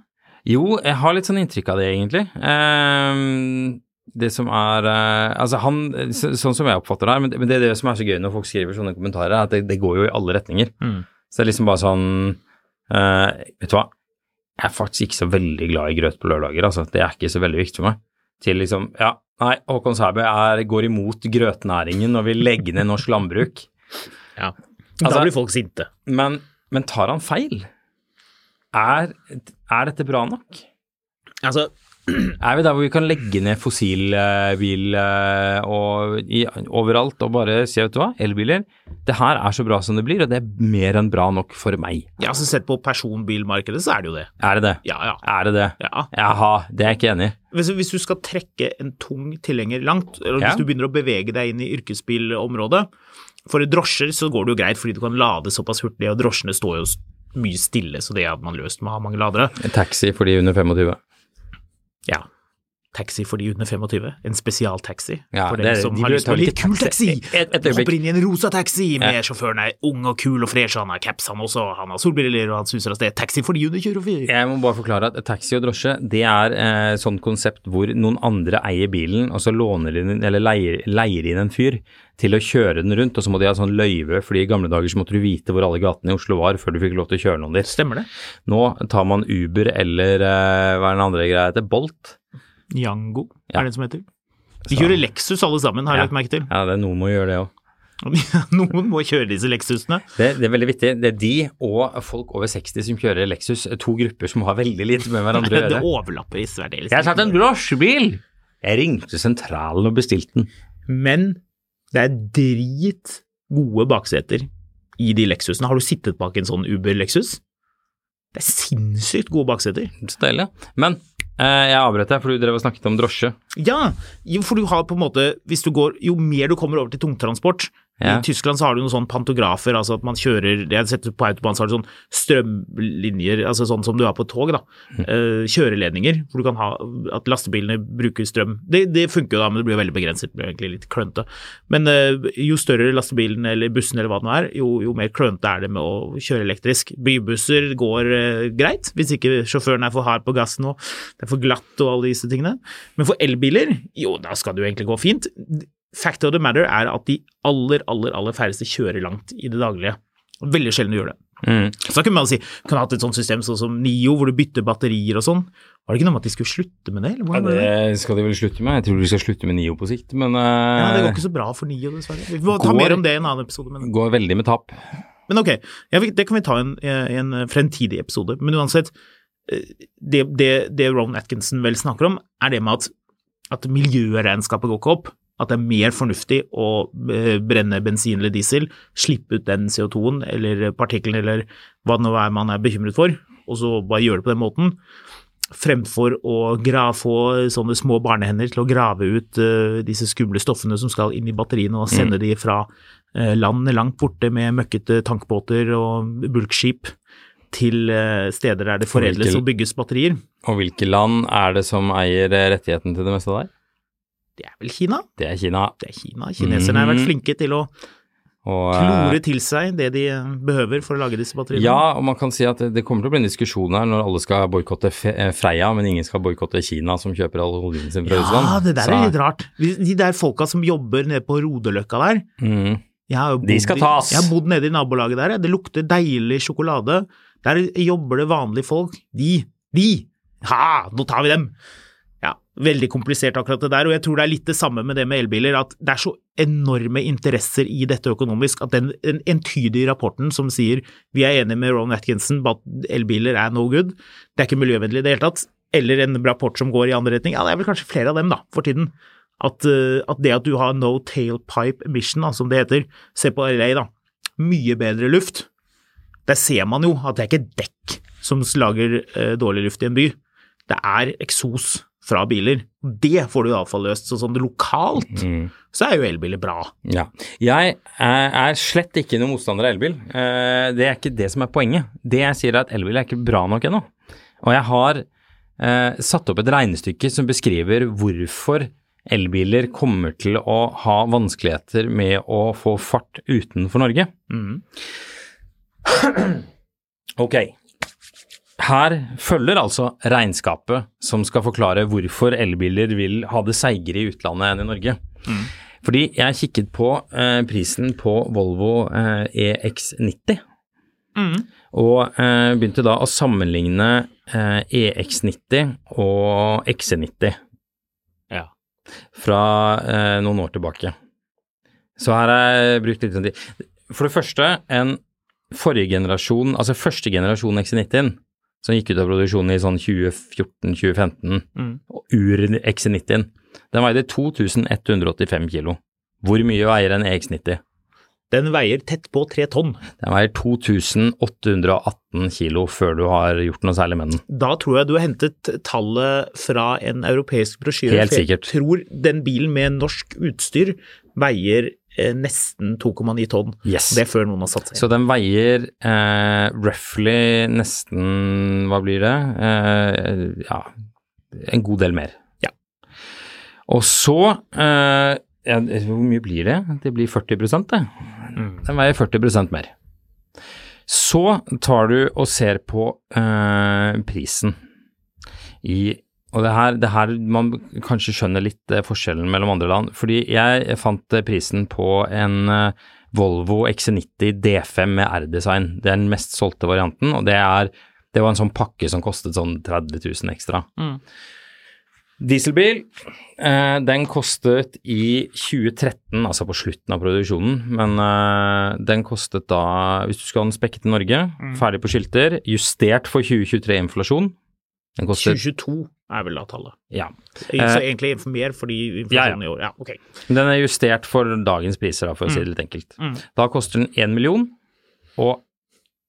Speaker 2: Jo, jeg har litt sånn inntrykk av det, egentlig. Ehm, det som er eh, Altså, han så, Sånn som jeg oppfatter det her, men, det- men det er det som er så gøy når folk skriver sånne kommentarer, er at det, det går jo i alle retninger. Så det er liksom bare sånn eh, Vet du hva? Jeg er faktisk ikke så veldig glad i grøt på lørdager, altså. Det er ikke så veldig viktig for meg. Til liksom Ja, nei, Håkon Sæbø er- går imot grøtnæringen og vil legge ned norsk landbruk.
Speaker 3: Ja.
Speaker 2: Altså-
Speaker 3: da blir folk sinte.
Speaker 2: Men, men tar han feil? Er, er dette bra nok?
Speaker 3: Altså,
Speaker 2: Er vi der hvor vi kan legge ned fossilbil eh, og i, overalt og bare si, vet du hva, elbiler, det her er så bra som det blir, og det er mer enn bra nok for meg.
Speaker 3: ja, så sett på personbilmarkedet, så er det jo det.
Speaker 2: Er det det?
Speaker 3: Ja, ja.
Speaker 2: Er det det?
Speaker 3: Ja.
Speaker 2: Jaha, det er jeg ikke enig i.
Speaker 3: Hvis, hvis du skal trekke en tung tilhenger langt, eller
Speaker 2: Ja.
Speaker 3: hvis du begynner å bevege deg inn i yrkesbilområdet For drosjer så går det jo greit, fordi du kan lade såpass hurtig, og drosjene står jo s- mye stille, så det hadde man løst med å ha mange ladere.
Speaker 2: En taxi for de under 25.
Speaker 3: Ja. Taxi for de under 25. En spesialtaxi.
Speaker 2: Ja,
Speaker 3: for
Speaker 2: det
Speaker 3: dem
Speaker 2: er-
Speaker 3: som
Speaker 2: de
Speaker 3: har
Speaker 2: bør
Speaker 3: lyst
Speaker 2: ta
Speaker 3: på en litt
Speaker 2: litt
Speaker 3: kul
Speaker 2: taxi.
Speaker 3: taxi.
Speaker 2: Et- et øyeblikk.
Speaker 3: Hopper inn i en rosa taxi med
Speaker 2: Ja.
Speaker 3: sjåføren er ung og kul og fresh, han har caps han også, han har solbriller og han suser av sted. Taxi for de under 24.
Speaker 2: Jeg må bare forklare at taxi og drosje, det er eh, sånn konsept hvor noen andre eier bilen, og så låner de inn, eller leier, leier inn en fyr til å kjøre den rundt, og så må de ha sånn løyve, fordi i gamle dager så måtte du vite hvor alle gatene i Oslo var før du fikk lov til å kjøre noen dit.
Speaker 3: Stemmer det?
Speaker 2: Nå tar man Uber eller eh, hva er den andre greia heter, Bolt.
Speaker 3: Yango
Speaker 2: Ja.
Speaker 3: er det den som heter. De kjører Lexus alle sammen, har jeg lagt merke til.
Speaker 2: Ja, det er noen må gjøre det òg.
Speaker 3: Noen må kjøre disse Lexusene.
Speaker 2: Det, det er veldig vittig. Det er de og folk over 60 som kjører Lexus, to grupper som har veldig lite med hverandre å
Speaker 3: Det
Speaker 2: gjøre.
Speaker 3: overlapper i særdeles.
Speaker 2: Jeg har tatt en drosjebil! Jeg ringte sentralen og bestilte den.
Speaker 3: Men det er drit gode bakseter i de Lexusene. Har du sittet bak en sånn Uber Lexus? Det er sinnssykt gode bakseter.
Speaker 2: Så deilig. Men eh, jeg avbrøt deg, for du drev og snakket om drosje.
Speaker 3: Ja, jo, for du har på en måte hvis du går, Jo mer du kommer over til tungtransport
Speaker 2: Ja.
Speaker 3: I Tyskland så har du noen sånne pantografer, altså at man kjører Jeg har sett på autobahn så har du sånn strømlinjer, altså sånn som du har på tog, da. Eh, kjøreledninger, hvor du kan ha at lastebilene bruker strøm. Det, det funker jo da, men det blir veldig begrenset. Det blir egentlig litt klønete. Men eh, jo større lastebilen eller bussen eller hva det nå er, jo, jo mer klønete er det med å kjøre elektrisk. Bybusser går eh, greit, hvis ikke sjåføren er for hard på gassen og det er for glatt og alle disse tingene. Men for elbiler, jo, da skal det jo egentlig gå fint. Fact of the matter er at de aller, aller, aller færreste kjører langt i det daglige. Veldig sjelden du gjør det.
Speaker 2: Mm.
Speaker 3: Så da kunne man si, kunne hatt et sånt system sånn som Nio, hvor du bytter batterier og sånn. Var det ikke noe med at de skulle slutte med det? Eller hvordan var det?
Speaker 2: skal de vel slutte med. Jeg tror de skal slutte med Nio på sikt, men eh,
Speaker 3: Ja, det går ikke så bra for Nio, dessverre. Vi får ta
Speaker 2: Går-
Speaker 3: mer om det i en annen episode. Men,
Speaker 2: går veldig med tap.
Speaker 3: men ok, ja, vi- det kan vi ta i en, i en eh, fremtidig episode. Men uansett, eh, det, det, det Ron Atkinson vel snakker om, er det med at, at miljøregnskapet går ikke opp. At det er mer fornuftig å eh, brenne bensin eller diesel, slippe ut den CO2-en eller partikkelen eller hva det nå er man er bekymret for, og så bare gjøre det på den måten. Fremfor å gra få sånne små barnehender til å grave ut eh, disse skumle stoffene som skal inn i batteriene og sende de fra eh, land langt borte med møkkete tankbåter og bulkskip til eh, steder der det foredles
Speaker 2: Hvilke-
Speaker 3: og bygges batterier.
Speaker 2: Og hvilke land er det som eier eh, rettigheten til det meste der?
Speaker 3: Det er vel Kina?
Speaker 2: Det er Kina.
Speaker 3: Det er Kina. Kineserne har vært
Speaker 2: Mhm.
Speaker 3: flinke til å
Speaker 2: Og, eh,
Speaker 3: klore til seg det de eh, behøver for å lage disse batteriene.
Speaker 2: ja, og man kan si at det- det kommer til å bli en diskusjon her når alle skal boikotte Freia, men ingen skal boikotte Kina, som kjøper all oljen sin fra Russland.
Speaker 3: Ja, det der er
Speaker 2: sånn. Så-
Speaker 3: litt rart. De de der folka som jobber nede på Rodeløkka der,
Speaker 2: Mm.
Speaker 3: Jeg har jo
Speaker 2: De skal
Speaker 3: i-
Speaker 2: tas.
Speaker 3: Jeg har bodd nede i nabolaget der. jeg. Det lukter deilig sjokolade. Der jobber det vanlige folk. De, de! Ha, nå tar vi dem! Ja, veldig komplisert akkurat det der, og jeg tror det er litt det samme med det med elbiler, at det er så enorme interesser i dette økonomisk at den, den entydige rapporten som sier vi er enige med Ron Atkinson på at elbiler er no good, det er ikke miljøvennlig i det hele tatt, eller en rapport som går i andre retning, ja det er vel kanskje flere av dem da, for tiden. At, eh, at det at du har no tailpipe emission, da, som det heter, se på LA da, mye bedre luft, der ser man jo at det er ikke dekk som lager eh, dårlig luft i en by. Det er eksos fra biler. Det får du iallfall løst. Så sånn lokalt så er jo elbiler bra.
Speaker 2: Ja. Jeg er er slett ikke noen motstander av elbil. Eh, Det er ikke det som er poenget. Det jeg sier er at elbil er ikke bra nok ennå. Og jeg har eh, satt opp et regnestykke som beskriver hvorfor elbiler kommer til å ha vanskeligheter med å få fart utenfor Norge. Ok. Her følger altså regnskapet som skal forklare hvorfor elbiler vil ha det seigere i utlandet enn i Norge. Fordi jeg kikket på eh, prisen på Volvo eh, EX90, og eh, begynte da å sammenligne eh, EX90 og XC90
Speaker 3: Ja.
Speaker 2: fra eh, noen år tilbake. Så her har jeg brukt litt sånn tid. For det første, en forrige generasjon, altså første generasjon XC90-en, som gikk ut av produksjonen i sånn 2014-2015,
Speaker 3: Mm.
Speaker 2: og ur-XC90-en, den veide 2185 kilo. Hvor mye veier en EX90?
Speaker 3: Den veier tett på tre tonn.
Speaker 2: Den veier 2818 kilo før du har gjort noe særlig med den.
Speaker 3: Da tror jeg du har hentet tallet fra en europeisk brosjyre.
Speaker 2: Helt
Speaker 3: for
Speaker 2: sikkert.
Speaker 3: Jeg tror den bilen med norsk utstyr veier eh, nesten 2,9 tonn.
Speaker 2: Yes.
Speaker 3: Det er før noen har satt seg inn.
Speaker 2: Så den veier eh, roughly nesten, hva blir det, eh, ja, en god del mer.
Speaker 3: Ja.
Speaker 2: Og så, eh, ja, hvor mye blir det? Det blir 40 det. Den veier 40 mer. Så tar du og ser på eh, prisen i og det her, det her man kanskje skjønner litt eh, forskjellen mellom andre land. Fordi jeg fant eh, prisen på en eh, Volvo XC90 D5 med R-design. Det er den mest solgte varianten, og det, er, det var en sånn pakke som kostet sånn 30 000 ekstra. Dieselbil, eh, den kostet i 2013, altså på slutten av produksjonen, men eh, den kostet da, hvis du skal ha den spekket i Norge, ferdig på skilter, justert for 2023-inflasjon, den kostet,
Speaker 3: 2022 er vel da tallet.
Speaker 2: ja.
Speaker 3: Så egentlig mer fordi inflasjonen i år. Eh. Ja, ok.
Speaker 2: Men Den er justert for dagens priser, da, for å si
Speaker 3: Mm.
Speaker 2: det litt enkelt. Da koster den 1 million og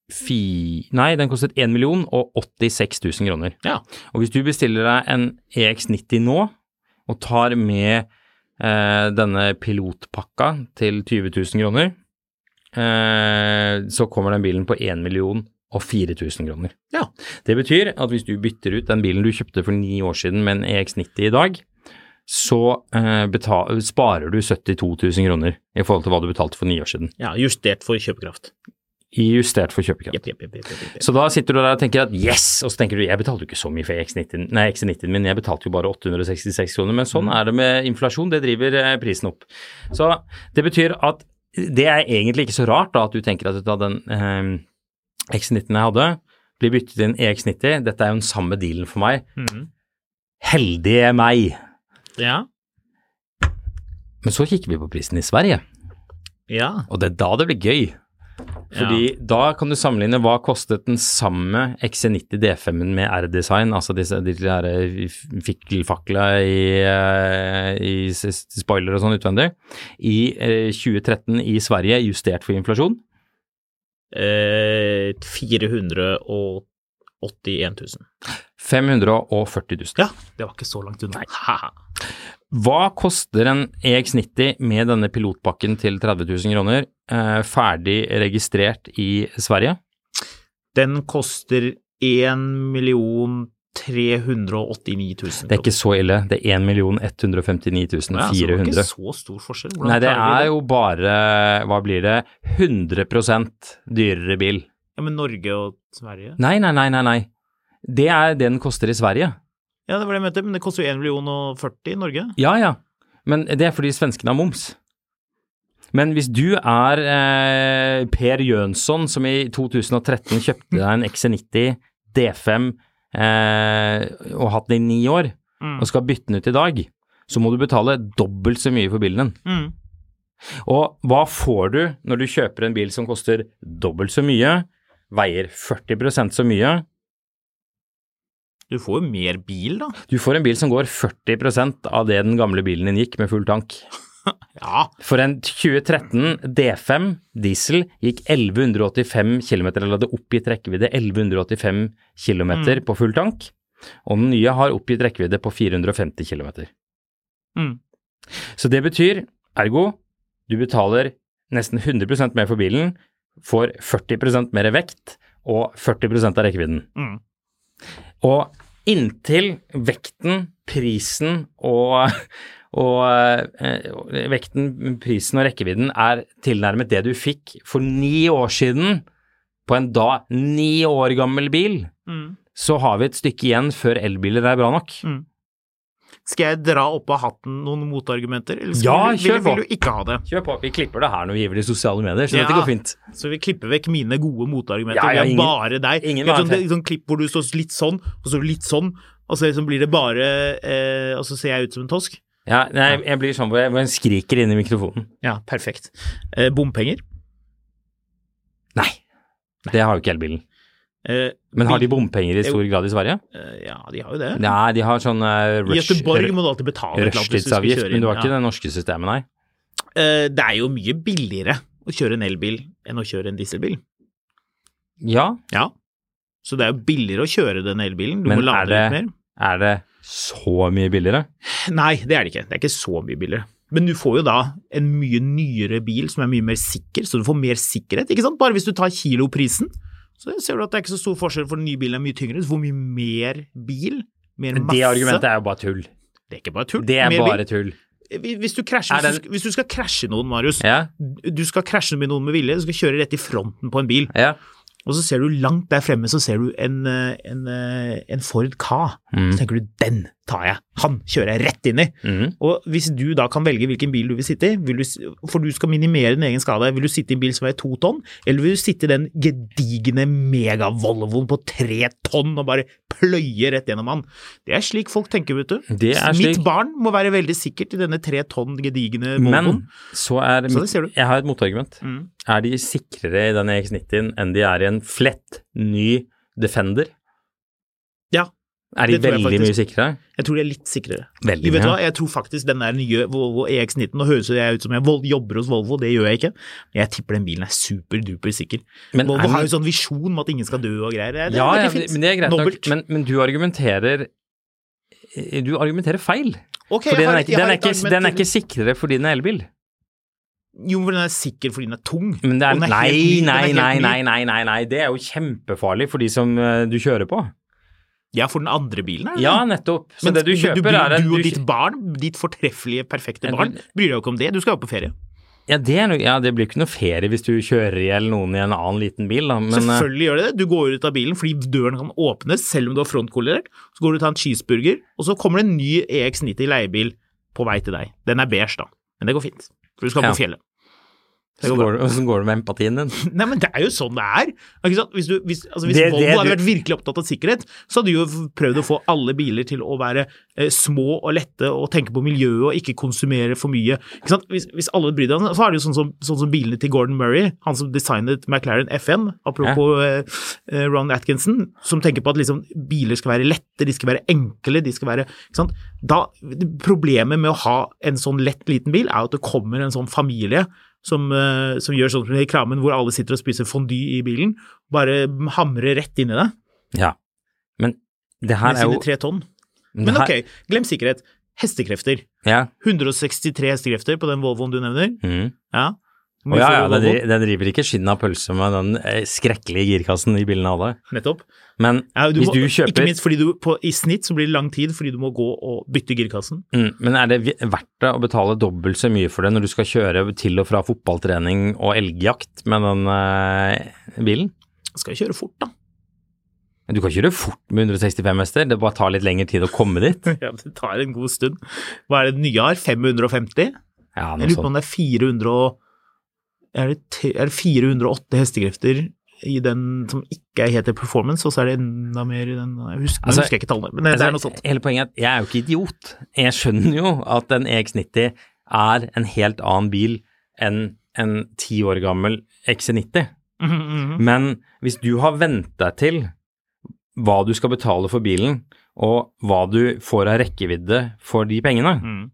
Speaker 2: fi... Nei, den kostet 1 million og 86 000 kroner.
Speaker 3: Ja.
Speaker 2: Og hvis du bestiller deg en EX90 nå, og tar med eh, denne pilotpakka til 20 000 kroner, eh, så kommer den bilen på 1 million og 4000 kroner.
Speaker 3: Ja.
Speaker 2: Det betyr at hvis du bytter ut den bilen du kjøpte for ni år siden med en EX90 i dag, så eh, beta- sparer du 72 000 kroner i forhold til hva du betalte for ni år siden,
Speaker 3: ja, justert for kjøpekraft.
Speaker 2: i justert for kjøpekraft.
Speaker 3: Jepp, jepp, jepp. jepp, jepp, jepp.
Speaker 2: Så da sitter du der og tenker at yes, og så tenker du jeg betalte jo ikke så mye for X90, nei, X90-en min, jeg betalte jo bare 866 kroner, men sånn er det med inflasjon, det driver eh, prisen opp. Så det betyr at det er egentlig ikke så rart da at du tenker at ut av den eh, X90-en jeg hadde, blir byttet til en EX90, dette er jo den samme dealen for meg. Heldige meg!
Speaker 3: Mm-hmm. Ja.
Speaker 2: Men så kikker vi på prisen i Sverige,
Speaker 3: ja.
Speaker 2: og det er da det blir gøy. Fordi da kan du sammenligne hva kostet den samme XC90 D5-en med R-design, altså disse de der fikkelfakla i, eh, i s- s- spoiler og sånn utvendig, i eh, 2013 i Sverige, justert for inflasjon.
Speaker 3: Eh, 481 000.
Speaker 2: 540 000.
Speaker 3: Ja, det var ikke så langt unna. Haha.
Speaker 2: Hva koster en EX90 med denne pilotpakken til 30 000 kroner, eh, ferdig registrert i Sverige?
Speaker 3: Den koster 1 389 000.
Speaker 2: Det er ikke så ille, det er 1 159
Speaker 3: Ja, så det var
Speaker 2: 400.
Speaker 3: ikke så stor forskjell. Hvordan
Speaker 2: Nei, det
Speaker 3: klarer de
Speaker 2: er jo bare, hva blir det, 100 dyrere bil.
Speaker 3: ja, Men Norge og Sverige?
Speaker 2: Nei, nei, nei, nei, nei. Det er det den koster i Sverige.
Speaker 3: Ja, det var det jeg mente, men det koster jo 1 million og 40 i Norge.
Speaker 2: Ja, ja. Men det er fordi svenskene har moms. Men hvis du er eh, Per Jønsson, som i 2013 kjøpte deg en E XC90 D5 eh, og hatt den i ni år,
Speaker 3: Mm,
Speaker 2: og skal bytte den ut i dag, så må du betale dobbelt så mye for bilen din.
Speaker 3: Mm.
Speaker 2: Og hva får du når du kjøper en bil som koster dobbelt så mye, veier 40 så mye?
Speaker 3: Du får jo mer bil, da.
Speaker 2: Du får en bil som går 40 av det den gamle bilen din gikk med full tank.
Speaker 3: Ja.
Speaker 2: For en 2013 D5 diesel gikk 1185 km, eller hadde oppgitt rekkevidde 1185 km på full tank. Og den nye har oppgitt rekkevidde på 450 km.
Speaker 3: Mm.
Speaker 2: Så det betyr, ergo, du betaler nesten 100 mer for bilen, får 40 mer vekt og 40 av rekkevidden.
Speaker 3: Mm.
Speaker 2: Og inntil vekten, prisen og, og eh, vekten, prisen og rekkevidden er tilnærmet det du fikk for ni år siden på en da ni år gammel bil,
Speaker 3: Mm.
Speaker 2: så har vi et stykke igjen før elbiler er bra nok.
Speaker 3: Skal jeg dra opp av hatten noen motargumenter, eller skal
Speaker 2: Ja,
Speaker 3: vil, vil,
Speaker 2: kjør på.
Speaker 3: vil du ikke ha det?
Speaker 2: Kjør på. Vi klipper det her når vi gir det i sosiale medier, så
Speaker 3: Ja.
Speaker 2: dette går fint.
Speaker 3: Så vi klipper vekk mine gode motargumenter.
Speaker 2: Ja, ja,
Speaker 3: det er
Speaker 2: ingen-
Speaker 3: bare deg.
Speaker 2: ingen
Speaker 3: det er
Speaker 2: er
Speaker 3: sånn,
Speaker 2: til.
Speaker 3: det er sånn klipp hvor du står litt sånn, og så litt sånn, og så liksom blir det bare eh, Og så ser jeg ut som en tosk.
Speaker 2: Ja, nei, jeg blir sånn hvor jeg, hvor jeg skriker inn i mikrofonen.
Speaker 3: Ja, perfekt. Eh, bompenger.
Speaker 2: Nei. Det har jo ikke elbilen.
Speaker 3: Eh,
Speaker 2: Men har de
Speaker 3: bil-
Speaker 2: bompenger i stor grad i Sverige?
Speaker 3: eh, Ja, de har jo det.
Speaker 2: Nei, de har sånn eh,
Speaker 3: I
Speaker 2: rush...
Speaker 3: Gøteborg må du alltid betale et eller annet hvis du skal
Speaker 2: Rushtidsavgift,
Speaker 3: kjøre
Speaker 2: men
Speaker 3: inn.
Speaker 2: du har ikke
Speaker 3: Ja.
Speaker 2: det norske systemet, nei.
Speaker 3: Eh, det er jo mye billigere å kjøre en elbil enn å kjøre en dieselbil.
Speaker 2: Ja,
Speaker 3: Ja. Så det er jo billigere å kjøre den elbilen. Du
Speaker 2: Men
Speaker 3: må
Speaker 2: er
Speaker 3: lade
Speaker 2: det-
Speaker 3: litt mer.
Speaker 2: er det så mye billigere?
Speaker 3: Nei, det er det ikke. Det er ikke så mye billigere. Men du får jo da en mye nyere bil som er mye mer sikker, så du får mer sikkerhet, ikke sant? Bare hvis du tar kiloprisen, så ser du at det er ikke så stor forskjell, for den nye bilen er mye tyngre, du får mye mer bil, mer masse.
Speaker 2: Det argumentet er jo bare tull.
Speaker 3: Det er ikke bare tull.
Speaker 2: Det er
Speaker 3: mer
Speaker 2: bare tull.
Speaker 3: bil. Hvis du, krasjer,
Speaker 2: Er
Speaker 3: hvis, du, hvis du skal krasje noen, Marius,
Speaker 2: Ja,
Speaker 3: du skal krasje med noen med vilje, du skal kjøre rett i fronten på en bil,
Speaker 2: ja.
Speaker 3: og så ser du langt der fremme, så ser du en, eh, en, eh, en Ford Ka. Så tenker du, den tar jeg, han kjører jeg rett inn i.
Speaker 2: Mm.
Speaker 3: Og hvis du da kan velge hvilken bil du vil sitte i, vil du, s- for du skal minimere din egen skade, vil du sitte i en bil som veier to tonn, eller vil du sitte i den gedigne megavolvoen på tre tonn og bare pløye rett gjennom han? Det er slik folk tenker, vet du.
Speaker 2: Det er
Speaker 3: Mitt
Speaker 2: slik.
Speaker 3: barn må være veldig sikkert i denne tre tonn gedigne
Speaker 2: Men
Speaker 3: volvoen.
Speaker 2: så er
Speaker 3: Så det
Speaker 2: mitt-
Speaker 3: ser du.
Speaker 2: Jeg har et motargument.
Speaker 3: Mm.
Speaker 2: Er de sikrere i denne X90-en enn de er i en flett ny Defender?
Speaker 3: Ja,
Speaker 2: Er de
Speaker 3: det tror jeg
Speaker 2: veldig mye
Speaker 3: faktisk.
Speaker 2: sikrere?
Speaker 3: jeg tror de er litt sikrere.
Speaker 2: Veldig
Speaker 3: Du vet
Speaker 2: mye.
Speaker 3: hva, jeg tror faktisk den der nye Volvo EX90, nå høres jeg ut som jeg vol- jobber hos Volvo, det gjør jeg ikke, men jeg tipper den bilen er superduper sikker.
Speaker 2: Men
Speaker 3: Volvo
Speaker 2: er den-
Speaker 3: har jo sånn visjon om at ingen skal dø og greier. Det er, det er
Speaker 2: Ja, ja,
Speaker 3: veldig fint.
Speaker 2: men det er greit
Speaker 3: Nobelt.
Speaker 2: nok. Men, men du argumenterer Du argumenterer feil.
Speaker 3: Ok,
Speaker 2: Fordi
Speaker 3: jeg
Speaker 2: den
Speaker 3: har-
Speaker 2: er, ikke,
Speaker 3: jeg har
Speaker 2: den, er
Speaker 3: et
Speaker 2: ikke,
Speaker 3: argument
Speaker 2: den er
Speaker 3: til.
Speaker 2: ikke sikrere fordi den er elbil.
Speaker 3: Jo, men den er sikker fordi den er tung.
Speaker 2: Men det
Speaker 3: Og
Speaker 2: er,
Speaker 3: den er
Speaker 2: nei,
Speaker 3: helt ny, den er
Speaker 2: nei,
Speaker 3: helt
Speaker 2: nei,
Speaker 3: ny.
Speaker 2: nei, nei, nei, nei. Det er jo kjempefarlig for de som eh, du kjører på.
Speaker 3: Ja, for den andre bilen er det.
Speaker 2: Ja, nettopp. Så
Speaker 3: Men
Speaker 2: det du kjøper
Speaker 3: bryr-
Speaker 2: er en
Speaker 3: Du
Speaker 2: du
Speaker 3: og ditt
Speaker 2: kjø-
Speaker 3: barn, ditt fortreffelige, perfekte
Speaker 2: Men du-
Speaker 3: barn, bryr deg jo ikke om det. Du skal jo på ferie.
Speaker 2: ja, det er, no- ja, det blir ikke noe ferie hvis du kjører i hjel noen i en annen liten bil, da. Men eh,
Speaker 3: Selvfølgelig gjør det det. Du går ut av bilen fordi døren kan åpnes selv om du har frontkollerert. Så går du og tar en cheeseburger, og så kommer det en ny EX90 leiebil på vei til deg. Den er beige, da. Men det går fint, for du skal
Speaker 2: Ja.
Speaker 3: på fjellet. Det
Speaker 2: så
Speaker 3: går bra.
Speaker 2: går, det- så går det med empatien din.
Speaker 3: Nei, men det er jo sånn det er. Ikke sant? Hvis, du, hvis, altså, hvis
Speaker 2: Det- det
Speaker 3: Volvo hadde
Speaker 2: du-
Speaker 3: vært virkelig opptatt av sikkerhet, så hadde de jo prøvd å få alle biler til å være eh, små og lette og tenke på miljøet og ikke konsumere for mye. Ikke sant? Hvis, hvis alle brydde seg, så er det jo sånn som, sånn som bilene til Gordon Murray, han som designet McLaren FN, apropos eh, eh, Ron Atkinson, som tenker på at liksom, biler skal være lette, de skal være enkle, de skal være ikke sant? Da, Problemet med å ha en sånn lett, liten bil er jo at det kommer en sånn familie som, eh, som gjør sånn som i reklamen hvor alle sitter og spiser fondy i bilen. Bare hamrer rett inn i det
Speaker 2: Ja. Men det her
Speaker 3: med
Speaker 2: er jo
Speaker 3: sine tre tonn.
Speaker 2: det
Speaker 3: Men
Speaker 2: her-
Speaker 3: ok, glem sikkerhet. Hestekrefter.
Speaker 2: Ja.
Speaker 3: 163 hestekrefter på den Volvoen du nevner.
Speaker 2: Mm.
Speaker 3: Ja.
Speaker 2: Å, ja, ja, den,
Speaker 3: Volvo.
Speaker 2: dri- den driver ikke skinnet av pølse med den eh, skrekkelige girkassen i bilene alle.
Speaker 3: Nettopp.
Speaker 2: Men
Speaker 3: Ja, du
Speaker 2: hvis
Speaker 3: må,
Speaker 2: du kjøper
Speaker 3: Ikke minst fordi du på, i snitt så blir det lang tid fordi du må gå og bytte girkassen.
Speaker 2: Mm, men er det vi- verdt det å betale dobbelt så mye for det når du skal kjøre til og fra fotballtrening og elgjakt med den eh, bilen?
Speaker 3: Skal jo kjøre fort, da.
Speaker 2: Du kan kjøre fort med 165 hester, det bare tar litt lengre tid å komme dit.
Speaker 3: Ja, det tar en god stund. Hva er det den nye har? 550?
Speaker 2: Ja, noe
Speaker 3: Jeg lurer på
Speaker 2: sånt.
Speaker 3: om det er 400 og er det, te- er det 408 hestekrefter i den som ikke heter performance, og så er det enda mer i den Jeg husker,
Speaker 2: Altså,
Speaker 3: nå husker jeg ikke tallene, men det, det er noe sånt.
Speaker 2: Hele poenget er at jeg er jo ikke idiot. Jeg skjønner jo at en EX90 er en helt annen bil enn en ti år gammel XC90.
Speaker 3: Mhm, mhm.
Speaker 2: Men hvis du har vent deg til hva du skal betale for bilen, og hva du får av rekkevidde for de pengene,
Speaker 3: Mm.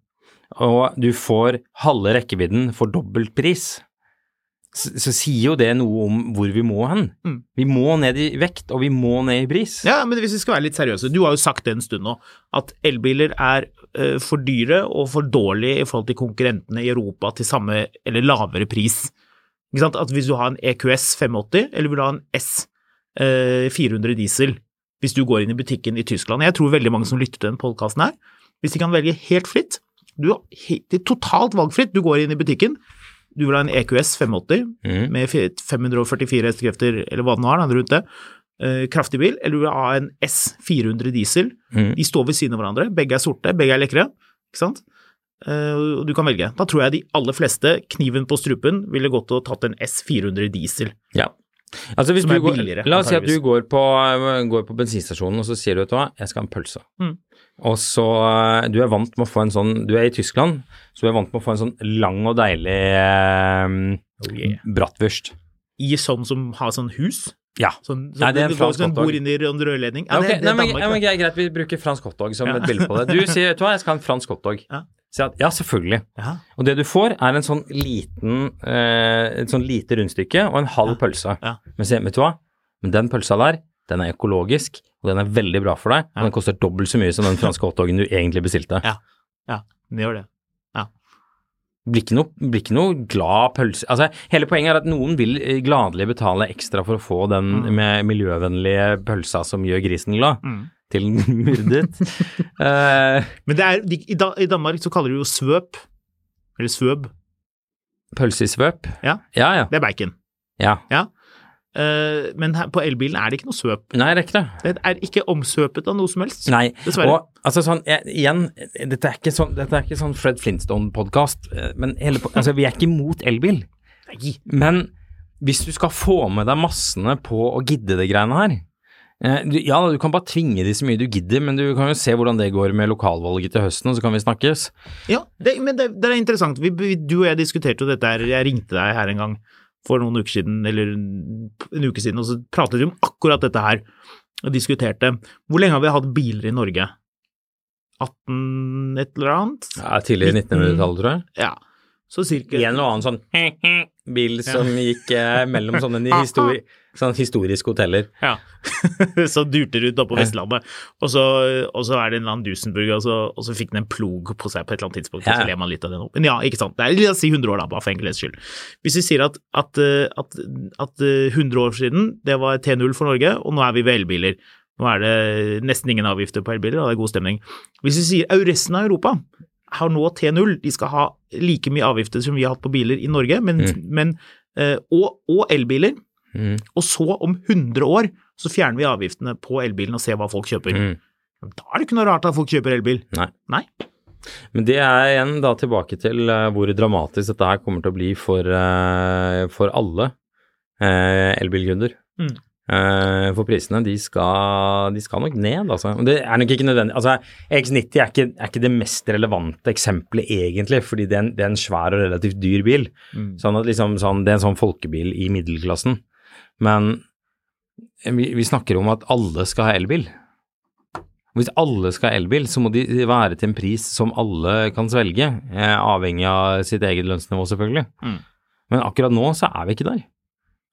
Speaker 2: og du får halve rekkevidden for dobbelt pris, så, så sier jo det noe om hvor vi må hen.
Speaker 3: Mm.
Speaker 2: Vi må ned i vekt, og vi må ned i pris.
Speaker 3: Ja, men hvis vi skal være litt seriøse, du har jo sagt det en stund nå, at elbiler er eh, for dyre og for dårlige i forhold til konkurrentene i Europa til samme eller lavere pris. Ikke sant? At hvis du har en E EQS 580, eller vil du ha en S eh, 400 diesel, hvis du går inn i butikken i Tyskland Jeg tror veldig mange som lytter til den podkasten her, hvis de kan velge helt fritt du, har he- Det er totalt valgfritt. Du går inn i butikken, du vil ha en E EQS 580,
Speaker 2: Mm.
Speaker 3: med fi- 544 hestekrefter, eller hva den har, da, rundt det, eh, kraftig bil, eller du vil ha en S400 diesel.
Speaker 2: Mm.
Speaker 3: De står ved siden av hverandre, begge er sorte, begge er lekre, ikke sant? Eh, og du kan velge. Da tror jeg de aller fleste, kniven på strupen, ville gått og tatt en S400 diesel.
Speaker 2: Ja. Altså hvis
Speaker 3: Som
Speaker 2: du
Speaker 3: er
Speaker 2: går,
Speaker 3: billigere,
Speaker 2: la oss si at du går
Speaker 3: antageligvis.
Speaker 2: på, går på bensinstasjonen og så sier du vet du hva, jeg skal ha en pølse.
Speaker 3: Mm.
Speaker 2: Og så eh, Du er vant med å få en sånn Du er i Tyskland, så du er vant med å få en sånn lang og deilig eh, bratwurst.
Speaker 3: I sånn som har sånn hus.
Speaker 2: Ja.
Speaker 3: Sånn, sånn,
Speaker 2: Nei, det er en
Speaker 3: du- du-
Speaker 2: fransk
Speaker 3: sånn
Speaker 2: hotdog.
Speaker 3: bor inn i en rørledning. Ja,
Speaker 2: Ok,
Speaker 3: det, det
Speaker 2: nei,
Speaker 3: er
Speaker 2: men,
Speaker 3: Danmark.
Speaker 2: ja, men
Speaker 3: da.
Speaker 2: greit, greit, vi bruker fransk hotdog som et bilde på det. Du sier vet du hva, jeg skal ha en fransk hotdog.
Speaker 3: Ja.
Speaker 2: Sier at ja, selvfølgelig.
Speaker 3: ja.
Speaker 2: Og det du får, er en sånn liten, eh, et sånn lite rundstykke og en halv pølse.
Speaker 3: ja.
Speaker 2: Men se, vet du hva? Men den pølsa der, den er økologisk, og den er veldig bra for deg,
Speaker 3: Ja.
Speaker 2: og den koster dobbelt så mye som den franske hotdogen du egentlig bestilte.
Speaker 3: Ja. ja, det gjør det.
Speaker 2: Det Blir ikke noe, det blir ikke noe glad pølse Altså, hele poenget er at noen vil eh, gladelig betale ekstra for å få den med miljøvennlige pølsa som gjør grisen glad,
Speaker 3: Mm.
Speaker 2: til den myrdet. Eh,
Speaker 3: Men det er, de, i, da, i Danmark så kaller de jo svøp, eller svøb,
Speaker 2: pølse i svøp.
Speaker 3: Ja.
Speaker 2: Ja, ja.
Speaker 3: det er bacon.
Speaker 2: ja.
Speaker 3: Eh, men her, på elbilen er det ikke noe søp.
Speaker 2: Nei, det er ikke det.
Speaker 3: Den er ikke omsøpet av noe som helst.
Speaker 2: Nei,
Speaker 3: Dessverre.
Speaker 2: og altså sånn, jeg, igjen, dette er ikke sånn, dette er ikke sånn Fred Flintstone-podkast, eh, men hele, po- altså, vi er ikke imot elbil.
Speaker 3: Nei.
Speaker 2: Men hvis du skal få med deg massene på å gidde det greiene her eh, du, Ja, du kan bare tvinge de så mye du gidder, men du kan jo se hvordan det går med lokalvalget til høsten, og så kan vi snakkes.
Speaker 3: Ja, det, men det, det er interessant. Vi, vi- du og jeg diskuterte jo dette her, jeg ringte deg her en gang for noen uker siden, eller en en uke siden, og så pratet vi om akkurat dette her, og diskuterte. Hvor lenge har vi hatt biler i Norge? 18 et eller annet?
Speaker 2: Ja, tidlig 1900-tallet, tror jeg.
Speaker 3: Ja. Så cirka
Speaker 2: Mm. En eller annen sånn bil som gikk eh, mellom sånne histori sånn historiske hoteller.
Speaker 3: Ja. som durte rundt oppe på Vestlandet. Og så, og så er det en eller annen Dusenburg, og så, og så fikk den en plog på seg på et eller annet tidspunkt. Og
Speaker 2: Ja.
Speaker 3: så ler man litt av det nå. Men ja, ikke sant. Det er la oss si 100 år, da, bare for enkelhets skyld. Hvis vi sier at, at, eh, at, at eh, 100 år siden, det var T0 for Norge, og nå er vi ved elbiler. Nå er det nesten ingen avgifter på elbiler, og det er god stemning. Hvis vi sier au, resten av Europa har nå T0, de skal ha like mye avgifter som vi har hatt på biler i Norge, men, men, eh, og, og elbiler.
Speaker 2: Mm.
Speaker 3: Og så, om 100 år, så fjerner vi avgiftene på elbilen og ser hva folk kjøper.
Speaker 2: Mm.
Speaker 3: Da er det ikke noe rart at folk kjøper elbil.
Speaker 2: Nei.
Speaker 3: Nei.
Speaker 2: Men det er igjen da tilbake til eh, hvor dramatisk dette her kommer til å bli for, eh, for alle uh, elbilkunder.
Speaker 3: Mm.
Speaker 2: Eh, for prisene, de skal, de skal nok ned, altså. Men Det er nok ikke nødvendig. Altså, X90 er ikke, er ikke det mest relevante eksempelet egentlig, fordi det er en, det er en svær og relativt dyr bil.
Speaker 3: Mm.
Speaker 2: Sånn at liksom, sånn, det er en sånn folkebil i middelklassen. Men eh, vi, vi snakker om at alle skal ha elbil. Hvis alle skal ha elbil, så må de være til en pris som alle kan svelge, eh, avhengig av sitt eget lønnsnivå selvfølgelig.
Speaker 3: Mm.
Speaker 2: Men akkurat nå så er vi ikke der.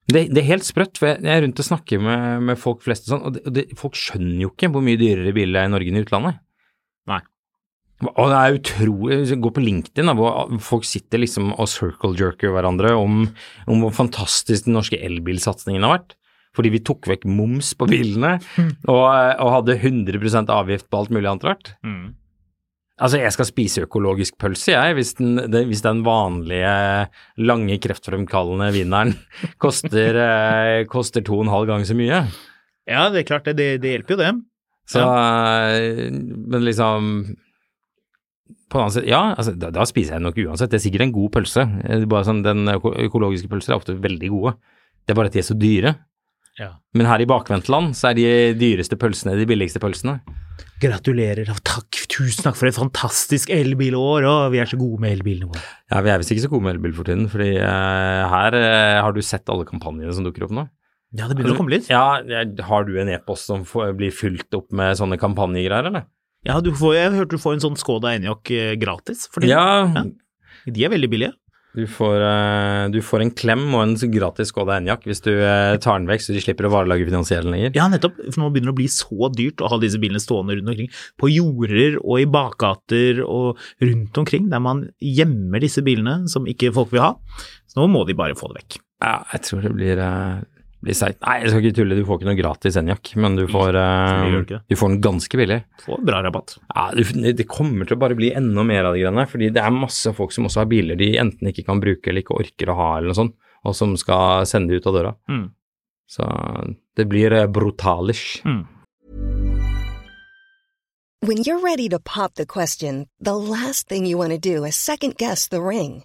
Speaker 2: Det, det er helt sprøtt, for jeg, jeg er rundt og snakker med, med folk flest og sånn, og, det, og det, folk skjønner jo ikke hvor mye dyrere biler er i Norge enn i utlandet.
Speaker 3: Nei.
Speaker 2: Og det er utrolig, hvis jeg går på LinkedIn da, hvor folk sitter liksom og circle-jerker hverandre om, om hvor fantastisk den norske elbilsatsingen har vært. Fordi vi tok vekk moms på bilene, og, eh, og hadde 100 avgift på alt mulig annet rart.
Speaker 3: mm.
Speaker 2: Altså, jeg skal spise økologisk pølse, jeg, hvis den, den, hvis den vanlige lange kreftfremkallende vinneren koster, eh, koster to og en halv gang så mye.
Speaker 3: Ja, det er klart, det, det, det hjelper jo det.
Speaker 2: Så, eh, men liksom På den annen side, ja, altså, da, da spiser jeg den nok uansett. Det er sikkert en god pølse. Eh, det er Bare sånn, den øko- økologiske pølser er ofte veldig gode. Det er bare at de er så dyre.
Speaker 3: Ja.
Speaker 2: Men her i bakvendtland så er de dyreste pølsene de billigste pølsene.
Speaker 3: Gratulerer og takk, tusen takk for et fantastisk elbilår, og vi er så gode med elbilene våre.
Speaker 2: Ja, Vi er visst ikke så gode med elbil for tiden, fordi eh, her eh, har du sett alle kampanjene som dukker opp nå.
Speaker 3: Ja, det begynner å komme litt.
Speaker 2: Ja, jeg- Har du en e-post som får, blir fylt opp med sånne kampanjegreier, eller?
Speaker 3: Ja, du får, jeg hørte du får en sånn Skoda Enyaq eh, gratis, for tiden.
Speaker 2: Ja,
Speaker 3: de er veldig billige.
Speaker 2: du får, eh, du får en klem og en så gratis Skoda Enyaq hvis du eh, tar den vekk, så de slipper å varelagerfinansiere den lenger.
Speaker 3: Ja, nettopp, for nå begynner det å bli så dyrt å ha disse bilene stående rundt omkring, på jorder og i bakgater og rundt omkring, der man gjemmer disse bilene som ikke folk vil ha. Så nå må de bare få det vekk.
Speaker 2: Ja, jeg tror det blir, eh, blir seigt. Nei, jeg skal ikke tulle, du får ikke noe gratis Enyaq, men du får, eh,
Speaker 3: Så gjør du ikke det.
Speaker 2: du får den ganske billig.
Speaker 3: Få bra rabatt.
Speaker 2: Ja, du, Det kommer til å bare bli enda mer av de greiene, fordi det er masse folk som også har biler de enten ikke kan bruke eller ikke orker å ha, eller noe sånt, og som skal sende det ut av døra.
Speaker 3: Mm.
Speaker 2: Så det blir eh, brutalish.
Speaker 3: Mm.
Speaker 1: When you're ready to pop the question, the last thing you want to do is second guess the ring.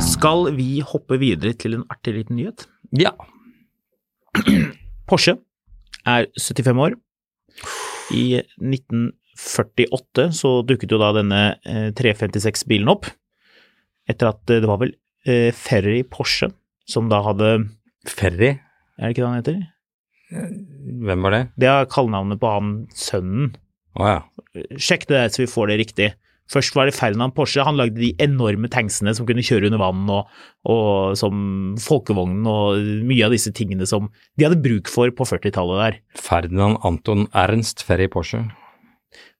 Speaker 3: Skal vi hoppe videre til en artig liten nyhet?
Speaker 2: Ja.
Speaker 3: Porsche er 75 år. I 1948 så dukket jo da denne 356-bilen opp, etter at eh, det var vel eh, Ferry Porsche som da hadde
Speaker 2: Ferry,
Speaker 3: Er det ikke det han heter?
Speaker 2: hvem var det?
Speaker 3: Det er kallenavnet på han sønnen.
Speaker 2: Å ja.
Speaker 3: Sjekk det der så vi får det riktig. Først var det Ferdinand Porsche. Han lagde de enorme tanksene som kunne kjøre under vann, og, og som folkevognen og mye av disse tingene som de hadde bruk for på 40-tallet der.
Speaker 2: Ferdinand Anton Ernst Ferry Porsche.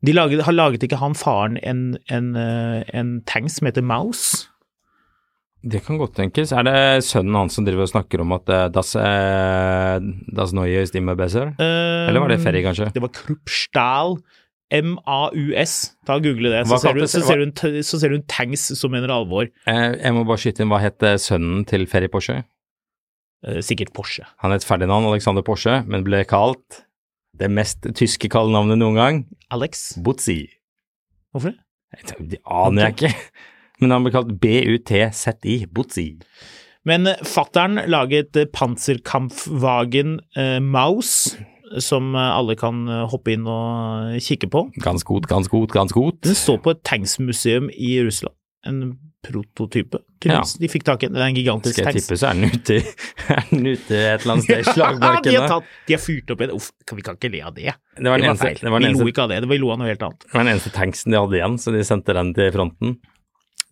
Speaker 3: De laget, har laget ikke han faren en, en, eh, en tank som heter Mouse?
Speaker 2: Det kan godt tenkes. Er det sønnen hans som driver og snakker om at eh, das, eh, das Neue ist immer besser? Eller var det Ferry, kanskje?
Speaker 3: Eh, Det var Kruppstahl. M-A-U-S. Ta og Google det, så
Speaker 2: Hva
Speaker 3: ser, du,
Speaker 2: kalte-
Speaker 3: så, ser du en, t- så ser du en tanks som mener alvor.
Speaker 2: Eh, jeg må bare skyte inn, hva het eh, sønnen til Ferry Porsche?
Speaker 3: Eh, Sikkert Porsche.
Speaker 2: Han het Ferdinand Alexander Porsche, men ble kalt det mest tyske kallenavnet noen gang,
Speaker 3: Alex?
Speaker 2: Butzi.
Speaker 3: Hvorfor det?
Speaker 2: Jeg tror- Det aner jeg ikke. Men han ble kalt BUTZI, Butzi.
Speaker 3: Men eh, fattern laget eh, Panzerkampfwagen eh, Maus, som eh, alle kan eh, hoppe inn og eh, kikke på.
Speaker 2: Ganz gut, ganz gut, ganz gut.
Speaker 3: Den står på et tanksmuseum i Russland. En prototype, tydeligvis. De fikk tak i den. Det er en gigantisk
Speaker 2: Skal jeg
Speaker 3: tanks.
Speaker 2: tippe, så er den ute, er den ute et eller annet sted i
Speaker 3: de, har
Speaker 2: slagmarkene.
Speaker 3: tatt, de har fyrt opp en Uff, kan- vi kan ikke le av det.
Speaker 2: Det var den eneste-
Speaker 3: feil.
Speaker 2: det var den
Speaker 3: vi
Speaker 2: eneste-
Speaker 3: lo ikke av det. det var, vi lo av noe helt annet.
Speaker 2: Det var den eneste tanksen de hadde igjen, så de sendte den til fronten.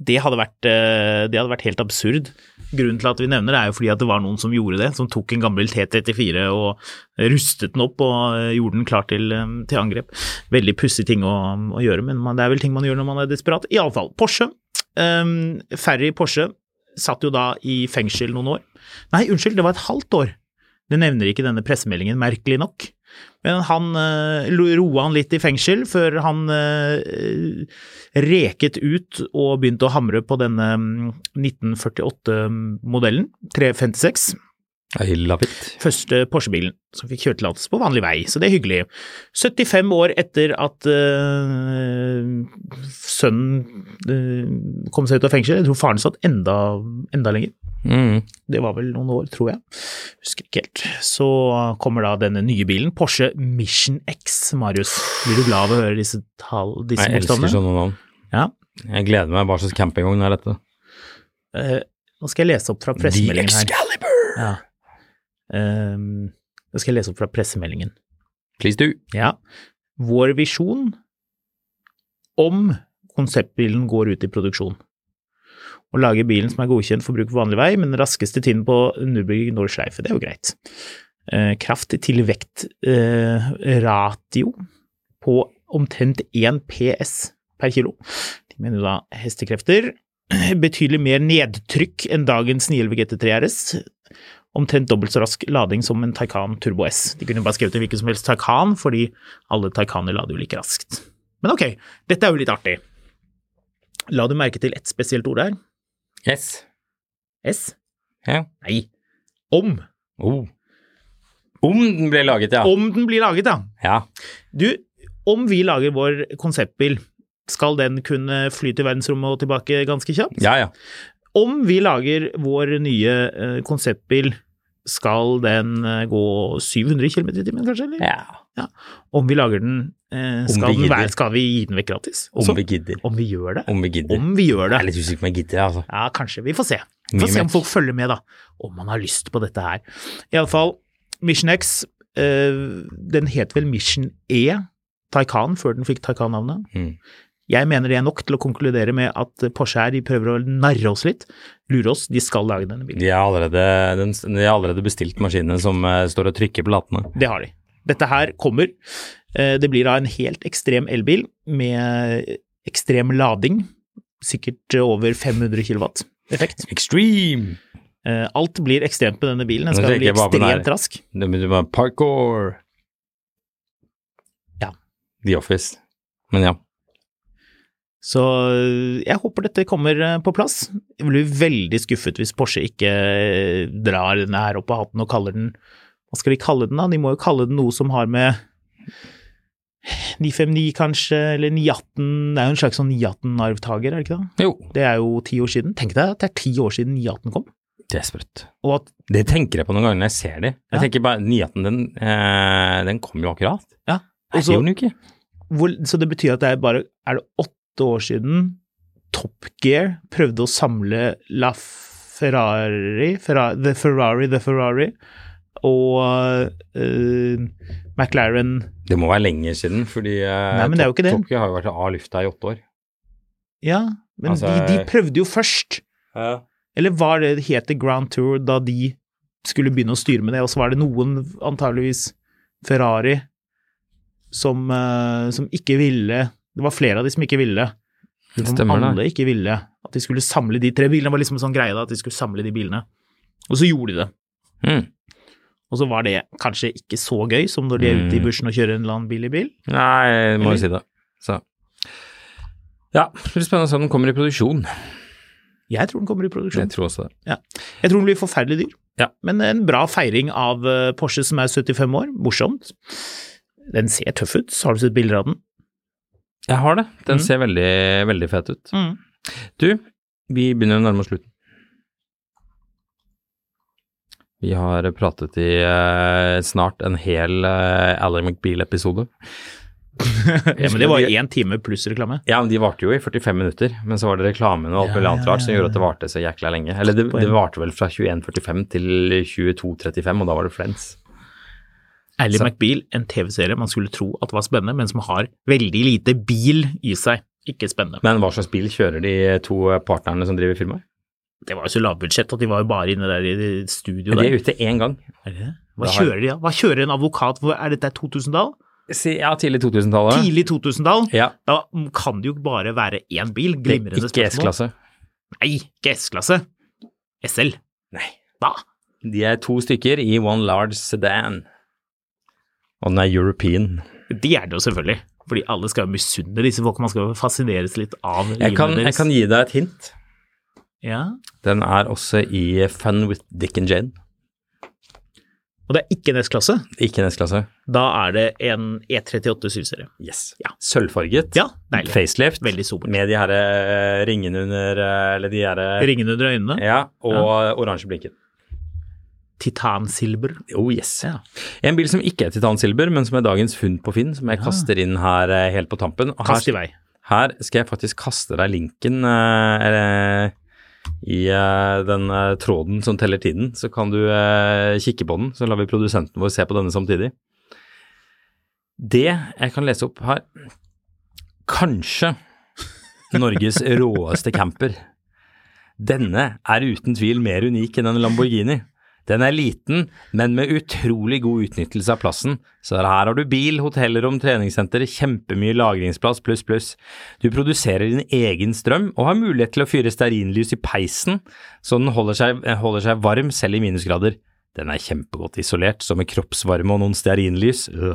Speaker 3: Det hadde, vært, eh, det hadde vært helt absurd. Grunnen til at vi nevner det, er jo fordi at det var noen som gjorde det. Som tok en gammel T-34 og rustet den opp og eh, gjorde den klar til, eh, til angrep. Veldig pussig ting å, å gjøre, men man, det er vel ting man gjør når man er desperat. Iallfall Porsche. Um, Ferry Porsche satt jo da i fengsel noen år. Nei, unnskyld, det var et halvt år. Det nevner ikke denne pressemeldingen, merkelig nok. Men han eh, lo- roa han litt i fengsel før han eh, reket ut og begynte å hamre på denne mm, 1948-modellen, 356.
Speaker 2: Lavitt.
Speaker 3: Første Porsche-bilen som fikk kjøretillatelse på vanlig vei, så det er hyggelig. 75 år etter at eh, sønnen eh, kom seg ut av fengsel, jeg tror faren satt enda, enda lenger.
Speaker 2: Mm.
Speaker 3: Det var vel noen år, tror jeg. Husker ikke helt. Så kommer da denne nye bilen, Porsche Mission X. Marius, blir du glad av å høre disse, tall, disse
Speaker 2: Jeg elsker sånn-
Speaker 3: bokstavene?
Speaker 2: sånne navn.
Speaker 3: Ja.
Speaker 2: Jeg gleder meg. Hva slags campingvogn er dette?
Speaker 3: Eh, nå skal jeg lese opp fra
Speaker 2: The
Speaker 3: pressemeldingen her.
Speaker 2: Excalibur!
Speaker 3: Ja. Ehm, nå skal jeg lese opp fra pressemeldingen.
Speaker 2: Please do.
Speaker 3: Ja. Vår visjon om konseptbilen går ut i produksjon. Å lage bilen som er godkjent for bruk på vanlig vei, men raskeste tiden på Nürburgring Nordschleife, det er jo greit. Eh, kraft til vektratio på omtrent 1 PS per kilo. De mener jo da hestekrefter. Betydelig mer nedtrykk enn dagens 911 GT3 RS omtrent dobbelt så rask lading som en Taycan Turbo S. De kunne jo bare skrevet en hvilken som helst Taycan, fordi alle Taycaner lader jo like raskt. Men ok, dette er jo litt artig. La du merke til ett spesielt ord her?
Speaker 2: Yes.
Speaker 3: S?
Speaker 2: Ja.
Speaker 3: Nei. Om.
Speaker 2: Oh. Om den ble laget, ja.
Speaker 3: Om den blir laget, da.
Speaker 2: Ja.
Speaker 3: Du, om vi lager vår konseptbil, skal den kunne fly til verdensrommet og tilbake ganske kjapt?
Speaker 2: Ja, ja.
Speaker 3: Om vi lager vår nye eh, konseptbil, skal den eh, gå 700 km i timen, kanskje? Eller?
Speaker 2: ja.
Speaker 3: Om vi lager den, eh, skal,
Speaker 2: vi
Speaker 3: den
Speaker 2: gidder.
Speaker 3: være, skal vi gi den vekk gratis?
Speaker 2: Om
Speaker 3: Også?
Speaker 2: vi gidder.
Speaker 3: om vi gjør det?
Speaker 2: Om vi gidder.
Speaker 3: Om vi gjør
Speaker 2: Jeg er
Speaker 3: det.
Speaker 2: litt usikker på om jeg gidder, altså.
Speaker 3: Ja, kanskje. Vi får se.
Speaker 2: Mye
Speaker 3: Vi får se om
Speaker 2: mekk.
Speaker 3: folk følger med, da. Om man har lyst på dette her. Iallfall, Mission X, eh, den het vel Mission E Taycan før den fikk Taycan-navnet.
Speaker 2: Mm.
Speaker 3: Jeg mener det er nok til å konkludere med at Porsche her de prøver å narre oss litt. Lure oss, de skal lage denne bilen.
Speaker 2: De har allerede, den, de har allerede bestilt maskinene som eh, står og trykker på latene.
Speaker 3: Det har de. Dette her kommer. Eh, Det blir da en helt ekstrem elbil med ekstrem lading. Sikkert over 500 kilowatt effekt.
Speaker 2: Extreme!
Speaker 3: Eh, Alt blir ekstremt med denne bilen.
Speaker 2: Nå
Speaker 3: Den skal
Speaker 2: tenker
Speaker 3: bli
Speaker 2: jeg bare på den
Speaker 3: ekstremt
Speaker 2: her.
Speaker 3: rask.
Speaker 2: Det betyr bare parkour.
Speaker 3: Ja.
Speaker 2: The Office. Men ja.
Speaker 3: Så eh, jeg håper dette kommer eh, på plass. Jeg blir veldig skuffet hvis Porsche ikke eh, drar denne her opp av hatten og kaller den Hva skal de kalle den, da? De må jo kalle den noe som har med 959 kanskje, eller 918 Det er jo en slags sånn 918-arvtaker, er det ikke det?
Speaker 2: Jo.
Speaker 3: Det er jo ti år siden. Tenk deg at det er ti år siden 918 kom.
Speaker 2: Det er sprøtt.
Speaker 3: Og at,
Speaker 2: Det tenker jeg på noen ganger når jeg ser de. Jeg
Speaker 3: Ja.
Speaker 2: tenker bare, Nyheten, den, eh, den kom jo akkurat.
Speaker 3: ja,
Speaker 2: Jeg
Speaker 3: og
Speaker 2: ser
Speaker 3: så,
Speaker 2: jo den jo ikke.
Speaker 3: hvor, så det betyr at det er bare Er det åtte år siden Top Gear prøvde å samle La Ferrari, Ferra- The Ferrari, The Ferrari og eh, McLaren
Speaker 2: Det må være lenger siden, fordi eh,
Speaker 3: Nei, men det er jo ikke det.
Speaker 2: Tokyo har jo vært av lufta i åtte år.
Speaker 3: Ja, men
Speaker 2: Altså-
Speaker 3: de, de prøvde jo først. Eller var det het det Grand Tour da de skulle begynne å styre med det, og så var det noen, antageligvis Ferrari, som, eh, som ikke ville Det var flere av de som ikke ville.
Speaker 2: Det
Speaker 3: Som
Speaker 2: stemmer,
Speaker 3: alle
Speaker 2: det.
Speaker 3: ikke ville. At de skulle samle de tre bilene. Det var liksom en sånn greie da, at de skulle samle de bilene. Og så gjorde de det.
Speaker 2: Mm.
Speaker 3: Og så var det kanskje ikke så gøy som når de er
Speaker 2: Mm.
Speaker 3: ute i bushen og kjører en eller annen billig bil.
Speaker 2: Nei, jeg må
Speaker 3: Eller-
Speaker 2: jo si det. Så. Ja, det blir spennende å se om den kommer i produksjon.
Speaker 3: Jeg tror den kommer i
Speaker 2: Jeg
Speaker 3: produksjon.
Speaker 2: tror også det.
Speaker 3: Ja. Jeg tror den blir forferdelig dyr.
Speaker 2: Ja.
Speaker 3: Men en bra feiring av eh, Porsche som er 75 år. Morsomt. Den ser tøff ut. Har du sett bilder av den?
Speaker 2: Jeg har det. Den
Speaker 3: Mm.
Speaker 2: ser veldig, veldig fet ut. Du, vi begynner å nærme oss slutten. Vi har pratet i eh, snart en hel uh, Ally McBeal-episode.
Speaker 3: Ja, men det var én time pluss reklame.
Speaker 2: Ja, men de varte jo i 45 minutter, men så var det reklamen og alt
Speaker 3: Ja,
Speaker 2: mulig annet
Speaker 3: ja,
Speaker 2: rart som gjorde at det varte så jækla lenge. Eller det, det varte vel fra 21.45 til 22.35, og da var det Friends.
Speaker 3: Ally
Speaker 2: Så-
Speaker 3: McBeal, en TV-serie man skulle tro at var spennende, men som har veldig lite bil i seg. Ikke spennende.
Speaker 2: Men hva slags bil kjører de to partnerne som driver firmaet?
Speaker 3: Det var jo så lavbudsjett at de var jo bare inne der i studio.
Speaker 2: De er
Speaker 3: Der.
Speaker 2: ute én gang.
Speaker 3: Er det det? Hva
Speaker 2: Da har-
Speaker 3: kjører de, da? Hva kjører en advokat for? Er dette 2000-tall?
Speaker 2: Si- Ja, tidlig 2000-tallet.
Speaker 3: Tidlig 2000-tall?
Speaker 2: Ja,
Speaker 3: Da kan det jo bare være én
Speaker 2: det
Speaker 3: bil.
Speaker 2: er
Speaker 3: Glimrende
Speaker 2: ikke
Speaker 3: spørsmål.
Speaker 2: S-klasse.
Speaker 3: Nei, ikke S-klasse. SL.
Speaker 2: Nei.
Speaker 3: Da.
Speaker 2: De er to stykker i one large sedan. Og den er European.
Speaker 3: De er det jo selvfølgelig. Fordi alle skal jo misunne disse folkene. Man skal jo fascineres litt av
Speaker 2: Jeg kan, jeg kan gi deg et hint.
Speaker 3: Ja.
Speaker 2: Den er også i Fun with Dick and Jane.
Speaker 3: Og det er ikke en S-klasse.
Speaker 2: Ikke en S-klasse.
Speaker 3: Da er det en E E38 7-serie.
Speaker 2: Yes.
Speaker 3: Ja.
Speaker 2: Sølvfarget.
Speaker 3: Ja, deilig.
Speaker 2: Facelift.
Speaker 3: Veldig sobert.
Speaker 2: Med de her eh, ringene under eh, Eller de her eh,
Speaker 3: Ringene under øynene.
Speaker 2: Ja, og eh, oransje blinken.
Speaker 3: Titansilver.
Speaker 2: Oh yes.
Speaker 3: Ja.
Speaker 2: En bil som ikke er titansilver, men som er dagens funn på Finn, som jeg kaster inn her eh, helt på tampen. Og
Speaker 3: Kast i
Speaker 2: her,
Speaker 3: vei.
Speaker 2: her skal jeg faktisk kaste deg linken eh, eller, i eh, den eh, tråden som teller tiden. Så kan du eh, kikke på den, så lar vi produsenten vår se på denne samtidig. Det jeg kan lese opp her Kanskje Norges råeste camper. Denne er uten tvil mer unik enn en Lamborghini. Den er liten, men med utrolig god utnyttelse av plassen. Så her har du bil, hotellrom, treningssenter, kjempemye lagringsplass pluss pluss. Du produserer din egen strøm og har mulighet til å fyre stearinlys i peisen, så den holder seg, holder seg varm selv i minusgrader. Den er kjempegodt isolert, så med kroppsvarme og noen stearinlys, øh.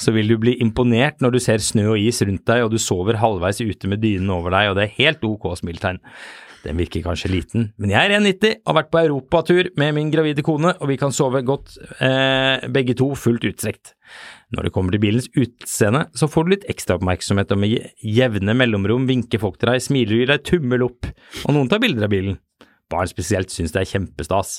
Speaker 2: så vil du bli imponert når du ser snø og is rundt deg og du sover halvveis ute med dynen over deg, og det er helt ok smiltegn. Den virker kanskje liten, men jeg er 1,90 og har vært på europatur med min gravide kone, og vi kan sove godt eh, begge to fullt utstrekt. Når det kommer til bilens utseende, så får du litt ekstra oppmerksomhet, og med je- jevne mellomrom vinker folk til deg, smiler og gir deg tummel opp, og noen tar bilder av bilen. Barn spesielt syns det er kjempestas.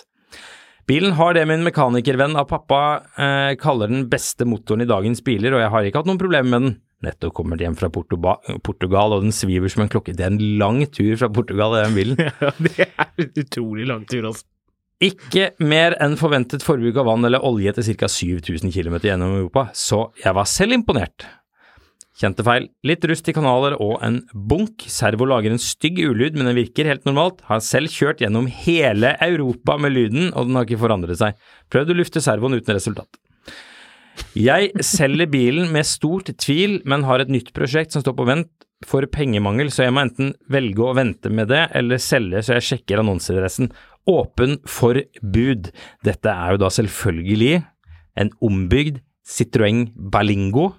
Speaker 2: Bilen har det min mekanikervenn av pappa eh, kaller den beste motoren i dagens biler, og jeg har ikke hatt noen problemer med den. Nettopp kommer hjem fra Portoba Portugal, og den sviver som en klokke. Det er en lang tur fra Portugal, den bilen.
Speaker 3: det er en utrolig lang tur, altså.
Speaker 2: Ikke mer enn forventet forbruk av vann eller olje etter ca. 7000 km gjennom Europa, så jeg var selv imponert. Kjente feil. Litt rust i kanaler og en bunk. Servo lager en stygg ulyd, men den virker helt normalt. Har selv kjørt gjennom hele Europa med lyden, og den har ikke forandret seg. Prøvd å lufte servoen uten resultat. Jeg selger bilen med stort tvil, men har et nytt prosjekt som står på vent for pengemangel, så jeg må enten velge å vente med det, eller selge så jeg sjekker annonseadressen. Åpen for bud. Dette er jo da selvfølgelig en ombygd Citroën Berlingo.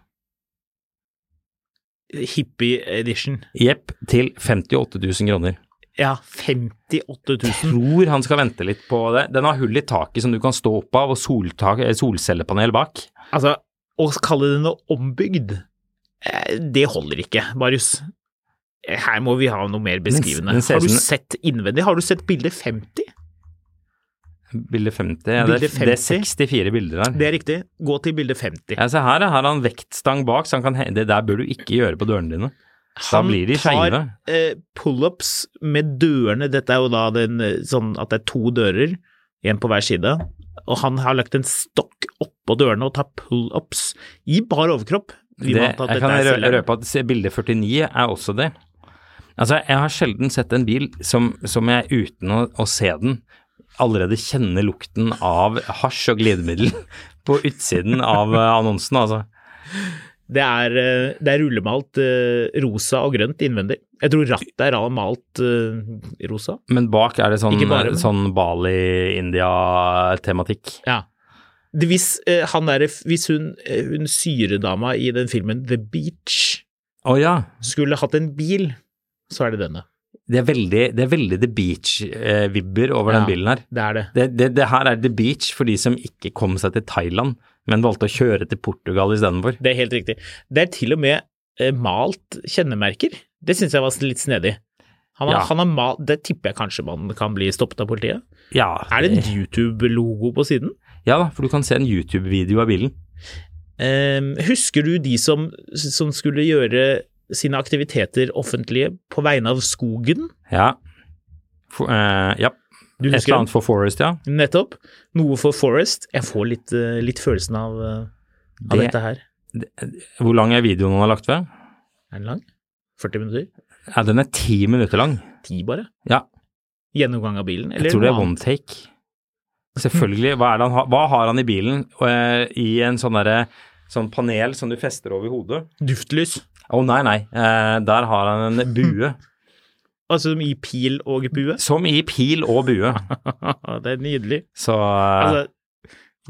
Speaker 3: Hippie edition.
Speaker 2: Jepp, til 58 000 kroner.
Speaker 3: Ja, 58 000.
Speaker 2: Tror han skal vente litt på det. Den har hull i taket som du kan stå opp av, og soltak, eh, solcellepanel bak.
Speaker 3: Altså, å kalle den ombygd, eh, det holder ikke, Marius. Eh, Her må vi ha noe mer beskrivende.
Speaker 2: den ser
Speaker 3: Har du
Speaker 2: som-
Speaker 3: sett innvendig? Har du sett bilde 50?
Speaker 2: Bilde 50. Ja,
Speaker 3: Bilde
Speaker 2: det, er- det er
Speaker 3: 50.
Speaker 2: 64 bilder her.
Speaker 3: Det er riktig. Gå til bilde 50.
Speaker 2: Ja, se her ja. her har han vektstang bak, så han kan he det der bør du ikke gjøre på dørene dine. Da
Speaker 3: Han
Speaker 2: blir de
Speaker 3: tar
Speaker 2: skeive.
Speaker 3: eh, pullups med dørene. Dette er jo da den, eh, sånn at det er to dører, én på hver side. Og han har lagt en stokk oppå dørene og tar pullups i bar overkropp. Vi må
Speaker 2: Det-
Speaker 3: anta
Speaker 2: Jeg
Speaker 3: at dette
Speaker 2: kan
Speaker 3: er
Speaker 2: rø-
Speaker 3: selgeren.
Speaker 2: røpe at se, bilde 49 er også det. Altså, jeg har sjelden sett en bil som, som jeg uten å, å se den allerede kjenner lukten av hasj og glidemiddel på utsiden av eh, annonsen, altså.
Speaker 3: Det er, eh, det er rullemalt eh, rosa og grønt innvendig. Jeg tror rattet er malt eh, rosa.
Speaker 2: Men bak er det sånn,
Speaker 3: Ikke bare, men-
Speaker 2: sånn Bali-India-tematikk.
Speaker 3: Ja. Det, hvis, eh, han der, hvis hun, eh, hun syredama i den filmen The Beach
Speaker 2: Å ja.
Speaker 3: skulle hatt en bil, så er det denne.
Speaker 2: Det er veldig, det er veldig The Beach-vibber over
Speaker 3: Ja.
Speaker 2: den bilen her.
Speaker 3: Det er det.
Speaker 2: Det, det, det her er The Beach for de som ikke kom seg til Thailand, men valgte å kjøre til Portugal istedenfor.
Speaker 3: Det er helt riktig. Det er til og med eh, malt kjennemerker. Det syns jeg var litt snedig. Han har,
Speaker 2: Ja.
Speaker 3: han har malt, Det tipper jeg kanskje man kan bli stoppet av politiet.
Speaker 2: Ja,
Speaker 3: Er det en YouTube-logo på siden?
Speaker 2: ja da, for du kan se en YouTube-video av bilen.
Speaker 3: Ehm, husker du de som, som skulle gjøre sine aktiviteter offentlige på vegne av skogen?
Speaker 2: Ja. For, eh, ja.
Speaker 3: Du
Speaker 2: Et
Speaker 3: husker
Speaker 2: eller annet for Forest, ja.
Speaker 3: dem? Nettopp. Noe for Forest. Jeg får litt, eh, litt følelsen av, eh, av
Speaker 2: Det-
Speaker 3: dette her.
Speaker 2: Hvor lang er videoen han har lagt ved?
Speaker 3: Er den lang? 40 minutter?
Speaker 2: Ja, den er ti minutter lang.
Speaker 3: 10 bare?
Speaker 2: Ja,
Speaker 3: Gjennomgang av bilen? Eller
Speaker 2: jeg tror det
Speaker 3: noe
Speaker 2: er
Speaker 3: annet?
Speaker 2: one take. Selvfølgelig. Hva, er det han har- hva har han i bilen? Og, eh, I en sånn derre Sånn panel som du fester over hodet?
Speaker 3: Duftlys.
Speaker 2: Å nei, nei. Eh, der har han en bue.
Speaker 3: Altså i pil og bue.
Speaker 2: Som i pil og bue.
Speaker 3: det er nydelig.
Speaker 2: Så eh,
Speaker 3: Altså,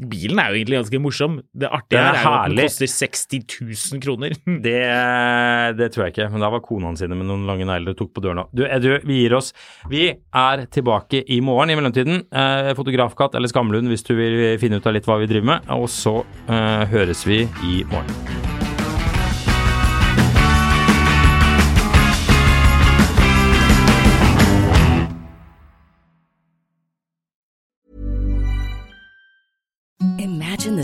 Speaker 3: Bilen er jo egentlig ganske morsom. Det artige
Speaker 2: Den er
Speaker 3: her er jo at
Speaker 2: herlig.
Speaker 3: den koster 60 000 kroner.
Speaker 2: Det, det tror jeg ikke, men da var kona hans inne med noen lange negler og tok på døren. Du, eh, du, vi gir oss. Vi er tilbake i morgen. I mellomtiden, eh, Fotografkatt eller Skamlund hvis du vil finne ut av litt hva vi driver med. Og så eh, høres vi i morgen.
Speaker 4: Imagine the